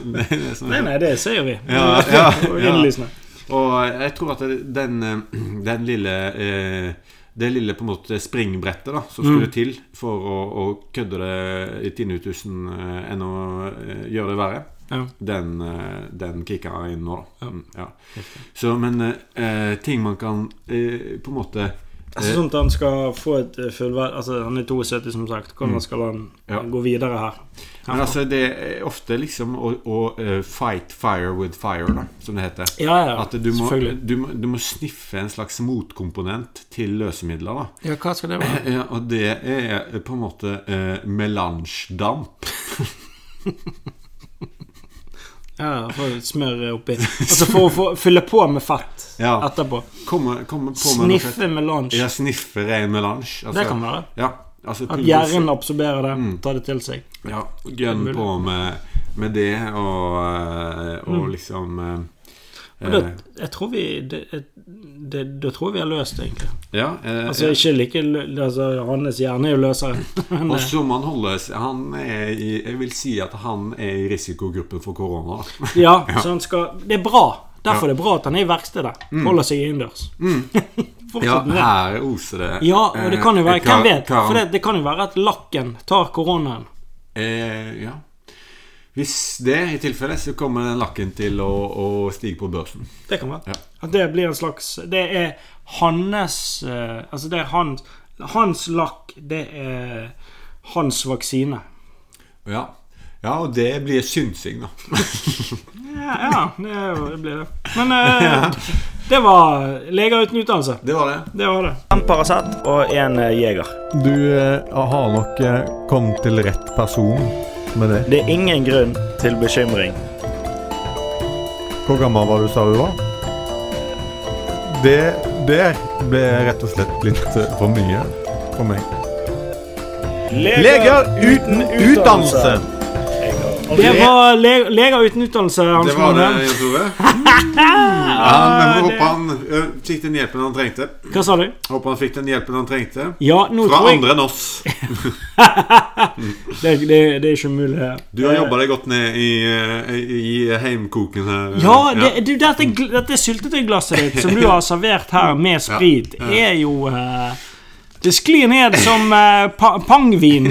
[SPEAKER 1] Det er det som
[SPEAKER 2] Nei,
[SPEAKER 1] er
[SPEAKER 2] nei, det ser jo vi.
[SPEAKER 1] Ja, ja,
[SPEAKER 2] Det er jo
[SPEAKER 1] ja.
[SPEAKER 2] innlysende.
[SPEAKER 1] Og jeg tror at det- den, eh, den lille eh, det lille på en måte springbrettet da som
[SPEAKER 2] Mm.
[SPEAKER 1] skulle til for å, å kødde det i tinnutusen eh, enn å eh, gjøre det verre,
[SPEAKER 2] Ja.
[SPEAKER 1] den, eh, den kicka inn nå, da. Mm, Ja. Så, men eh, ting man kan eh, på en måte
[SPEAKER 2] Altså,
[SPEAKER 1] eh,
[SPEAKER 2] sånn at han skal få et eh, fullverd Altså, han er 72, som sagt. Hvordan skal han
[SPEAKER 1] Mm. Ja.
[SPEAKER 2] gå videre her?
[SPEAKER 1] Men altså, det er ofte liksom å, å eh, fight fire with fire, da, som det heter.
[SPEAKER 2] Ja, ja,
[SPEAKER 1] At du må,
[SPEAKER 2] selvfølgelig.
[SPEAKER 1] du, må, du må sniffe en slags motkomponent til løsemidler. da
[SPEAKER 2] Ja, hva skal det være?
[SPEAKER 1] Ja, og det er på en måte eh, melansjdamp.
[SPEAKER 2] Ja, få smør oppi. Altså for å få fylle på med fett
[SPEAKER 1] Ja.
[SPEAKER 2] etterpå.
[SPEAKER 1] Komme, komme på med noe fett.
[SPEAKER 2] Sniffe melange.
[SPEAKER 1] Ja, sniffe ren melansj. Altså, Mm.
[SPEAKER 2] Det kan være.
[SPEAKER 1] Ja, altså
[SPEAKER 2] At
[SPEAKER 1] pulver-
[SPEAKER 2] hjernen absorberer det, tar det til seg.
[SPEAKER 1] Ja, gønn på med, med det og, eh, og liksom eh,
[SPEAKER 2] Mm. Og da,
[SPEAKER 1] eh,
[SPEAKER 2] jeg tror vi det, det, det tror jeg vi har løst, det, egentlig.
[SPEAKER 1] Ja. eh,
[SPEAKER 2] Altså
[SPEAKER 1] ja.
[SPEAKER 2] ikke like lø- altså, Hans hjerne er jo løsere. Men,
[SPEAKER 1] Og
[SPEAKER 2] eh,
[SPEAKER 1] så må han holde seg Han er i Jeg vil si at han er i risikogruppen for korona. da.
[SPEAKER 2] ja, så han skal Det er bra. Derfor er det bra at han er i verkstedet. Holder seg innendørs.
[SPEAKER 1] Ja,
[SPEAKER 2] fortsett med det.
[SPEAKER 1] her oser det.
[SPEAKER 2] Ja, og det kan jo
[SPEAKER 1] Eh,
[SPEAKER 2] være
[SPEAKER 1] kar-
[SPEAKER 2] Hvem vet?
[SPEAKER 1] karan-
[SPEAKER 2] For det, det kan jo være at lakken tar koronaen.
[SPEAKER 1] Eh, ja. Hvis det er tilfellet, så kommer den lakken til å, å stige på børsen.
[SPEAKER 2] Det kan være.
[SPEAKER 1] Ja.
[SPEAKER 2] At det blir en slags Det er hans eh, Altså, det er hans Hans lakk, det er hans vaksine.
[SPEAKER 1] Ja, ja og det blir synsing, da.
[SPEAKER 2] Ja, ja det, er jo- det blir det. Men eh, det var leger uten utdannelse.
[SPEAKER 1] Det var det.
[SPEAKER 2] Det var det. En Paracet og en Jeger.
[SPEAKER 3] Du eh, har nok eh, kommet til rett person med det.
[SPEAKER 2] Det er ingen grunn til bekymring.
[SPEAKER 3] Hvor gammel var du, sa du var? Det der ble rett og slett litt eh, for mye for meg. Leger uten utdannelse!
[SPEAKER 2] Det var le leger uten utdannelse. Hans
[SPEAKER 1] Det var det,
[SPEAKER 2] Manuel.
[SPEAKER 1] Jan Tore. Ja, men vi håper han ø, fikk den hjelpen han trengte.
[SPEAKER 2] Hva sa du?
[SPEAKER 1] Håper han fikk den hjelpen han trengte.
[SPEAKER 2] Ja, nå
[SPEAKER 1] Fra
[SPEAKER 2] tror jeg
[SPEAKER 1] andre enn oss.
[SPEAKER 2] det, det, det er ikke mulig.
[SPEAKER 1] Du har jobba deg godt ned i, eh, i, i heimkoken her.
[SPEAKER 2] Ja, det, du, dette, gl- dette syltetøyglasset ditt som du har servert her med sprit,
[SPEAKER 1] Ja, ja.
[SPEAKER 2] er jo eh, Det sklir ned som eh, pa pangvin.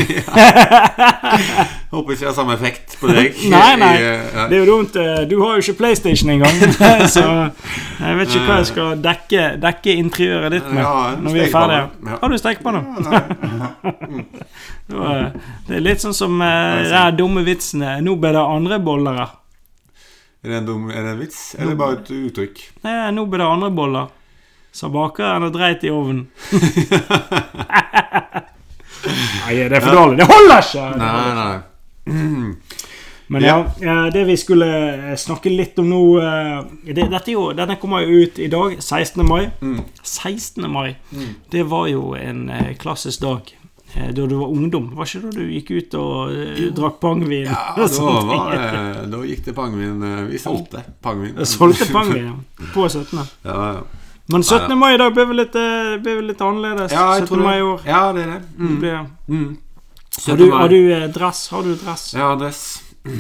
[SPEAKER 1] Håper ikke jeg har samme effekt på deg.
[SPEAKER 2] Nei, nei.
[SPEAKER 1] I, eh, ja.
[SPEAKER 2] Det er jo dumt. eh, Du har jo ikke PlayStation engang, så jeg vet ikke hva jeg skal dekke, dekke interiøret ditt med
[SPEAKER 1] Ja, en
[SPEAKER 2] når vi er ferdige.
[SPEAKER 1] stekepanne. Ja.
[SPEAKER 2] Har du stekepanne? Det var- Det er litt sånn som eh, de her dumme vitsene. Nå ble det andre boller her.
[SPEAKER 1] Er det en dum er det en vits, eller bare et uttrykk?
[SPEAKER 2] Nei, nå ble det andre boller. Sa bakeren og dreit i ovnen. Nei, det er for dårlig. Det holder ikke!
[SPEAKER 1] Nei, nei.
[SPEAKER 2] Men ja, eh, det vi skulle eh, snakke litt om nå eh, det, dette er jo, Denne kommer jo ut i dag, 16. mai.
[SPEAKER 1] Mm.
[SPEAKER 2] 16. mai, det var jo en eh, klassisk dag. eh, Da du var ungdom, var ikke da du gikk ut og eh, drakk pangvin?
[SPEAKER 1] Ja,
[SPEAKER 2] og
[SPEAKER 1] da,
[SPEAKER 2] sånne
[SPEAKER 1] var,
[SPEAKER 2] sånn ting?
[SPEAKER 1] det- da gikk det pangvin. eh, Vi solgte pangvin.
[SPEAKER 2] Solgte pangvin ja, på 17.
[SPEAKER 1] Ja, ja.
[SPEAKER 2] Men 17. mai i dag ble vel litt, eh, ble vel litt annerledes.
[SPEAKER 1] ja,
[SPEAKER 2] 17.
[SPEAKER 1] jeg tror det.
[SPEAKER 2] mai i år.
[SPEAKER 1] Ja, det er det. Mm.
[SPEAKER 2] Det ble-
[SPEAKER 1] Mm.
[SPEAKER 2] Har du, har du eh, dress? Har du dress?
[SPEAKER 1] Ja, adress.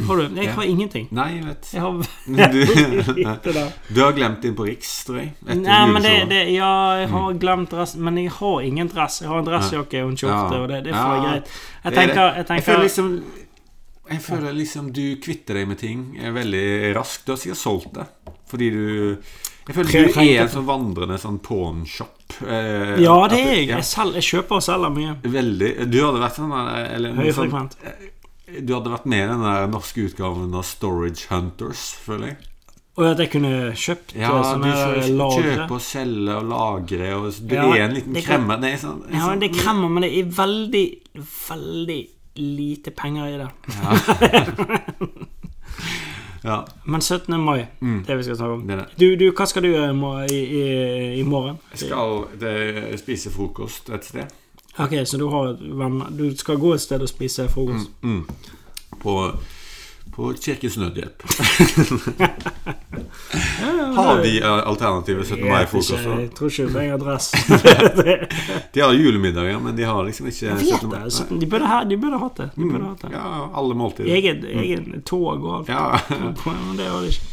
[SPEAKER 2] Har du? Jeg har ingenting.
[SPEAKER 1] Nei, jeg vet.
[SPEAKER 2] Jeg har
[SPEAKER 1] Du,
[SPEAKER 2] lite der.
[SPEAKER 1] du har glemt din på Riks, tror jeg. Etter
[SPEAKER 2] Nei, men det,
[SPEAKER 1] juleshowet.
[SPEAKER 2] det, ja, jeg har glemt dress Men jeg har ingen dress. Jeg har en dressjakke og en skjorte,
[SPEAKER 1] Mm. Ja.
[SPEAKER 2] og det, det får
[SPEAKER 1] Ja.
[SPEAKER 2] jeg greit. Jeg
[SPEAKER 1] Det er det.
[SPEAKER 2] tenker, jeg
[SPEAKER 1] Jeg føler
[SPEAKER 2] tenker
[SPEAKER 1] liksom jeg føler liksom du kvitter deg med ting eh, veldig raskt. Du har sikkert solgt det. Fordi du Jeg føler du er en sånn vandrende sånn pawnshop. eh,
[SPEAKER 2] Ja,
[SPEAKER 1] at-
[SPEAKER 2] det er jeg.
[SPEAKER 1] ja.
[SPEAKER 2] Jeg, selger, jeg kjøper og selger mye.
[SPEAKER 1] Veldig Du hadde vært sånn eh, eller, noe sånn-
[SPEAKER 2] Høyfrekvent.
[SPEAKER 1] Du hadde vært med i den der norske utgaven av Storage Hunters, føler jeg.
[SPEAKER 2] Og at jeg kunne kjøpt
[SPEAKER 1] Ja,
[SPEAKER 2] eh,
[SPEAKER 1] du
[SPEAKER 2] sånne
[SPEAKER 1] får
[SPEAKER 2] lagre.
[SPEAKER 1] kjøpe og selge og lagre og Du
[SPEAKER 2] Ja,
[SPEAKER 1] er en liten
[SPEAKER 2] det kan-
[SPEAKER 1] kremmer. Det er sånn,
[SPEAKER 2] Ja,
[SPEAKER 1] sånn
[SPEAKER 2] det er kremmer, men det er veldig, veldig lite penger i det.
[SPEAKER 1] ja,
[SPEAKER 2] Men 17. mai, det vi skal snakke om.
[SPEAKER 1] Mm. det er det.
[SPEAKER 2] Du, du, hva skal du gjøre i, mor- i, i, i morgen?
[SPEAKER 1] Jeg skal eh, spise frokost et sted.
[SPEAKER 2] Ok, så du har venner Du skal gå et sted og spise frokost?
[SPEAKER 1] Mm. På, på Kirkens Nødhjelp. Har de eh, alternative
[SPEAKER 2] Jeg
[SPEAKER 1] 17.
[SPEAKER 2] vet ikke,
[SPEAKER 1] mai-frokoster?
[SPEAKER 2] jeg tror ikke du trenger dress.
[SPEAKER 1] De har julemiddager, men de har liksom ikke
[SPEAKER 2] Jeg vet det. Så de burde ha- de burde hatt det. De burde hatt det.
[SPEAKER 1] Mm, Ja, alle måltider.
[SPEAKER 2] Egen, egen tog og alt.
[SPEAKER 1] Ja.
[SPEAKER 2] Men det har de ikke.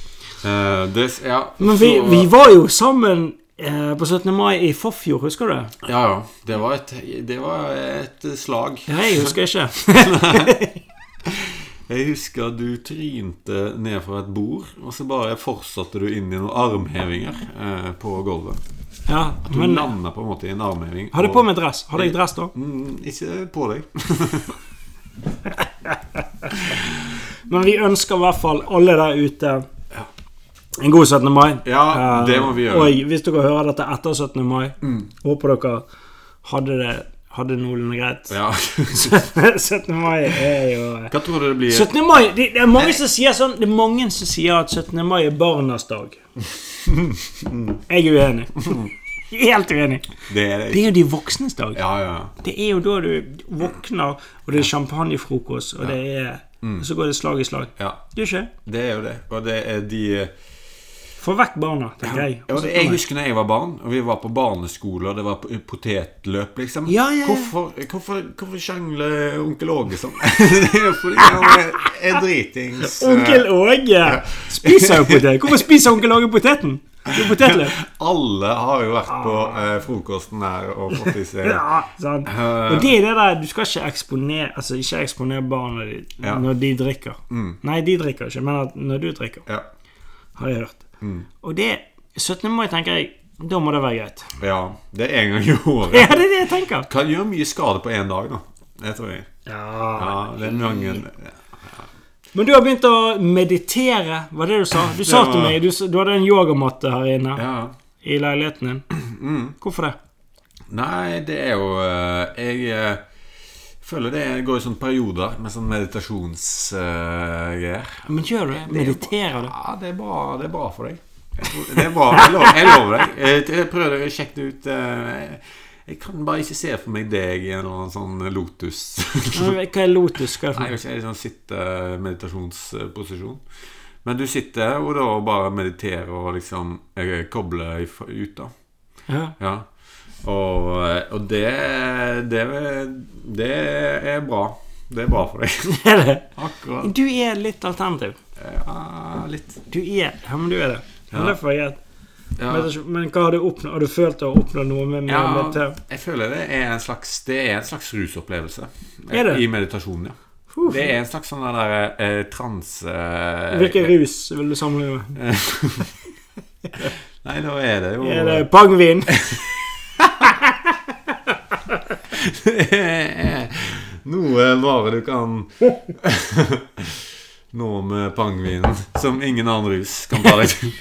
[SPEAKER 1] Eh, det, ja.
[SPEAKER 2] Men vi,
[SPEAKER 1] så-
[SPEAKER 2] vi var jo sammen eh, på 17. mai i forfjor, husker du det?
[SPEAKER 1] Ja, ja. Det var et, det var et slag.
[SPEAKER 2] Ja, jeg husker ikke.
[SPEAKER 1] Jeg husker du trynte ned fra et bord, og så bare fortsatte du inn i noen armhevinger eh, på gulvet.
[SPEAKER 2] Ja,
[SPEAKER 1] Du
[SPEAKER 2] men
[SPEAKER 1] landa på en måte i en armheving.
[SPEAKER 2] hadde jeg
[SPEAKER 1] og-
[SPEAKER 2] på meg dress? Hadde jeg dress da?
[SPEAKER 1] Mm, ikke på deg.
[SPEAKER 2] Men vi ønsker i hvert fall alle der ute en god 17. mai.
[SPEAKER 1] Ja, det må vi gjøre.
[SPEAKER 2] Eh,
[SPEAKER 1] Mm.
[SPEAKER 2] Og hvis dere hører dette etter 17. mai, håper dere hadde det hadde det noenlunde greit.
[SPEAKER 1] Ja.
[SPEAKER 2] 17. mai er jo
[SPEAKER 1] Hva tror du det blir?
[SPEAKER 2] 17. mai, det, det er mange som sier sånn Det er mange som sier at 17. mai er barnas dag. Jeg er uenig. Helt uenig.
[SPEAKER 1] Det er
[SPEAKER 2] Det er jo de voksnes dag.
[SPEAKER 1] Ja, ja.
[SPEAKER 2] Det er jo da du våkner, og det er champagnefrokost, og det
[SPEAKER 1] Mm.
[SPEAKER 2] er og Så går det slag i slag.
[SPEAKER 1] ja.
[SPEAKER 2] Det er ikke?
[SPEAKER 1] Det er jo det. Og det er de
[SPEAKER 2] Få vekk barna, tenker jeg.
[SPEAKER 1] Ja,
[SPEAKER 2] Og så
[SPEAKER 1] det, eh, jeg
[SPEAKER 2] kommer-
[SPEAKER 1] husker når jeg var barn, og vi var på barneskole, og det var p- potetløp, liksom.
[SPEAKER 2] Ja, ja, ja.
[SPEAKER 1] Hvorfor, hvorfor, hvorfor sjangler onkel Åge sånn? det er jo fordi han er, er dritings. eh,
[SPEAKER 2] Onkel Åge spiser jo potet. Hvorfor spiser onkel Åge poteten? Det er jo potetløp.
[SPEAKER 1] Alle har jo vært på eh, frokosten her og fått i seg
[SPEAKER 2] Ja, sant.
[SPEAKER 1] Eh.
[SPEAKER 2] Og det er det der, du skal ikke eksponere Altså ikke eksponere barna dine
[SPEAKER 1] Ja. Mm.
[SPEAKER 2] når de drikker. Nei, de drikker ikke, men at når du drikker,
[SPEAKER 1] Ja.
[SPEAKER 2] har jeg hørt.
[SPEAKER 1] Mm.
[SPEAKER 2] Og det 17. mai, tenker jeg, da må det være greit.
[SPEAKER 1] ja. Det er en gang i
[SPEAKER 2] Ja,
[SPEAKER 1] året.
[SPEAKER 2] det er det jeg tenker.
[SPEAKER 1] Kan gjøre mye skade på én dag, da. Det tror jeg.
[SPEAKER 2] Ja.
[SPEAKER 1] Ja, det er mange
[SPEAKER 2] Men du har begynt å meditere, var det du sa? Du sa
[SPEAKER 1] Det
[SPEAKER 2] til
[SPEAKER 1] var-
[SPEAKER 2] meg, du, s- du hadde en yogamatte her inne
[SPEAKER 1] Ja. Mm.
[SPEAKER 2] i leiligheten din. Hvorfor det?
[SPEAKER 1] Nei, det er jo eh, Jeg eh, føler det går i sånne perioder med sånn meditasjonsgreier.
[SPEAKER 2] Men gjør du det? Mediterer du?
[SPEAKER 1] Ja, det er bra, det er bra for deg. Jeg tror- Det er bra, jeg lover, jeg lover deg. Jeg, jeg prøvde å sjekke det ut. eh, Jeg kan bare ikke se for meg deg i en eller annen sånn lotus.
[SPEAKER 2] Ja, men Hva er lotus? Hva er det
[SPEAKER 1] Nei,
[SPEAKER 2] for noe?
[SPEAKER 1] jeg er ikke i sånn sitte-meditasjonsposisjon. Men du sitter og da bare mediterer og liksom eh, kobler ifra- ut, da.
[SPEAKER 2] Ja.
[SPEAKER 1] Ja. Og, og det, det Det er bra. Det er bra for deg.
[SPEAKER 2] Er det?
[SPEAKER 1] Akkurat.
[SPEAKER 2] Du er litt alternativ.
[SPEAKER 1] Ja, litt.
[SPEAKER 2] Du er Ja, men du er det. Men
[SPEAKER 1] Ja.
[SPEAKER 2] derfor er jeg
[SPEAKER 1] Ja.
[SPEAKER 2] Men, men hva har du oppnådd? Har du følt å ha oppnådd noe med med
[SPEAKER 1] Ja,
[SPEAKER 2] dette?
[SPEAKER 1] jeg føler det er en slags Det er en slags rusopplevelse.
[SPEAKER 2] Er det?
[SPEAKER 1] I meditasjonen, ja.
[SPEAKER 2] Puh.
[SPEAKER 1] Det er en slags sånn der eh, transe...
[SPEAKER 2] Hvilken rus vil du samle med?
[SPEAKER 1] Nei, da er det jo
[SPEAKER 2] Er det pangvin?
[SPEAKER 1] Noe bare du kan Nå med pangvinen som ingen annen rus kan ta deg til.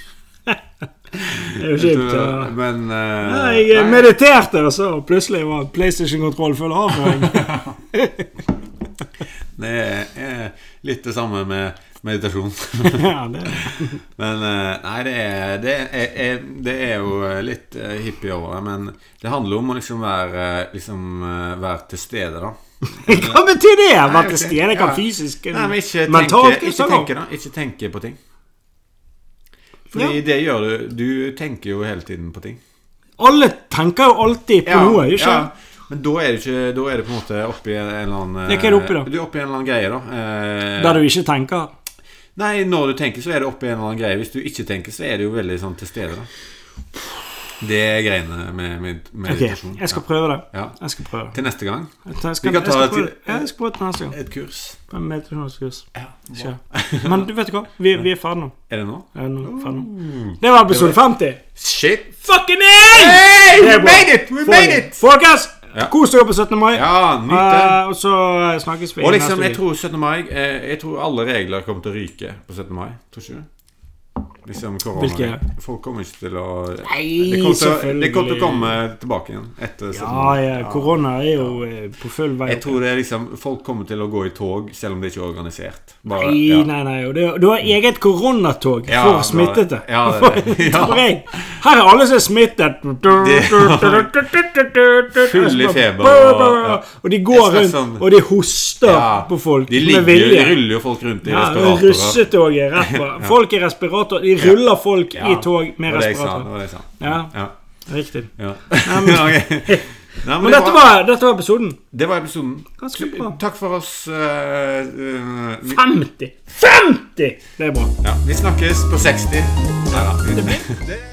[SPEAKER 2] Det er jo kjipt. ja.
[SPEAKER 1] Men eh,
[SPEAKER 2] Nei, Jeg
[SPEAKER 1] nei.
[SPEAKER 2] mediterte, og så plutselig var PlayStation-kontroll full av meg.
[SPEAKER 1] Det er litt det samme med meditasjon.
[SPEAKER 2] Ja, det er-
[SPEAKER 1] Men eh, nei, det er, det er, er, det er jo litt eh, hippie over det. Men det handler om å liksom være, eh, liksom, eh, være til stede, da.
[SPEAKER 2] Hva betyr det?
[SPEAKER 1] Nei,
[SPEAKER 2] Vært
[SPEAKER 1] ok.
[SPEAKER 2] til stede? Jeg kan
[SPEAKER 1] Ja.
[SPEAKER 2] fysisk
[SPEAKER 1] Nei, men ikke
[SPEAKER 2] mentalt, liksom, sånn.
[SPEAKER 1] tenke, ikke
[SPEAKER 2] så godt.
[SPEAKER 1] tenke, da. Ikke tenke på ting. Fordi
[SPEAKER 2] Ja.
[SPEAKER 1] det gjør du Du tenker jo hele tiden på ting.
[SPEAKER 2] Alle tenker jo alltid på noe, ikke sant?
[SPEAKER 1] ja. Men da er, du ikke, da er du på en måte oppi en eller annen eh,
[SPEAKER 2] Ja, hva er du oppi da?
[SPEAKER 1] Du er oppi en eller annen greie, da. Eh,
[SPEAKER 2] Der du ikke tenker.
[SPEAKER 1] Nei, når du tenker, så er det oppi en eller annen greie. Hvis du ikke tenker, så er det jo veldig sånn til stede. da Det er greiene med, med
[SPEAKER 2] Ok,
[SPEAKER 1] meditasjon.
[SPEAKER 2] jeg skal prøve det.
[SPEAKER 1] Ja.
[SPEAKER 2] Jeg skal prøve det.
[SPEAKER 1] Til neste gang,
[SPEAKER 2] Jeg skal,
[SPEAKER 1] Vi kan
[SPEAKER 2] jeg
[SPEAKER 1] ta
[SPEAKER 2] skal prøve
[SPEAKER 1] det til-
[SPEAKER 2] det. Ja, jeg skal prøve det til neste gang.
[SPEAKER 1] et kurs.
[SPEAKER 2] På en meditasjonskurs.
[SPEAKER 1] Ja.
[SPEAKER 2] Ikke. Men du vet du hva? Vi, vi er ferdig nå.
[SPEAKER 1] Er det nå?
[SPEAKER 2] Ja, nå, ferdig
[SPEAKER 1] Mm.
[SPEAKER 2] nå. Det var episode 50.
[SPEAKER 1] Shit!
[SPEAKER 2] Fucking hey!
[SPEAKER 1] we made it! We made it!
[SPEAKER 2] Folkens,
[SPEAKER 1] Ja.
[SPEAKER 2] kos dere på 17. mai.
[SPEAKER 1] Ja, nyt det.
[SPEAKER 2] Eh, og så eh, snakkes vi
[SPEAKER 1] Og liksom, jeg
[SPEAKER 2] neste uke.
[SPEAKER 1] tror 17. mai eh, Jeg tror alle regler kommer til å ryke på 17. mai. Tror ikke du? Liksom korona.
[SPEAKER 2] Hvilke?
[SPEAKER 1] Folk kommer ikke til å
[SPEAKER 2] Nei,
[SPEAKER 1] det kommer, til, å-
[SPEAKER 2] selvfølgelig.
[SPEAKER 1] det kommer til å komme tilbake igjen etter 17.
[SPEAKER 2] Ja, ja, korona er jo eh, på full vei.
[SPEAKER 1] Jeg tror det er liksom Folk kommer til å gå i tog, selv om det ikke er organisert. Bare,
[SPEAKER 2] Nei,
[SPEAKER 1] ja.
[SPEAKER 2] nei, nei. Og det, du har eget koronatog
[SPEAKER 1] Ja,
[SPEAKER 2] for
[SPEAKER 1] det-
[SPEAKER 2] smittede.
[SPEAKER 1] ja, det- det- ja.
[SPEAKER 2] Tror jeg. Her er alle som er smittet.
[SPEAKER 1] Full i feber,
[SPEAKER 2] Og,
[SPEAKER 1] og- ja.
[SPEAKER 2] de går
[SPEAKER 1] Jeg skal
[SPEAKER 2] rundt,
[SPEAKER 1] sånn-
[SPEAKER 2] og de hoster
[SPEAKER 1] Ja,
[SPEAKER 2] på folk
[SPEAKER 1] De,
[SPEAKER 2] med
[SPEAKER 1] ligger, jo-
[SPEAKER 2] vilje.
[SPEAKER 1] de ruller jo folk rundt i
[SPEAKER 2] Ja,
[SPEAKER 1] respiratorer.
[SPEAKER 2] russetoget rett på. Folk i respirator. De ruller folk i tog
[SPEAKER 1] Det
[SPEAKER 2] med
[SPEAKER 1] var det jeg sa. Det
[SPEAKER 2] respirator.
[SPEAKER 1] var det jeg sa.
[SPEAKER 2] Ja,
[SPEAKER 1] Ja.
[SPEAKER 2] riktig.
[SPEAKER 1] ja.
[SPEAKER 2] men-
[SPEAKER 1] Ok. Nei,
[SPEAKER 2] Men
[SPEAKER 1] det
[SPEAKER 2] dette var, dette var episoden.
[SPEAKER 1] Det var episoden.
[SPEAKER 2] Ganske bra.
[SPEAKER 1] Takk for oss. eh, eh, vi,
[SPEAKER 2] 50! 50! Det er bra.
[SPEAKER 1] ja, vi snakkes på 60. Ja, da.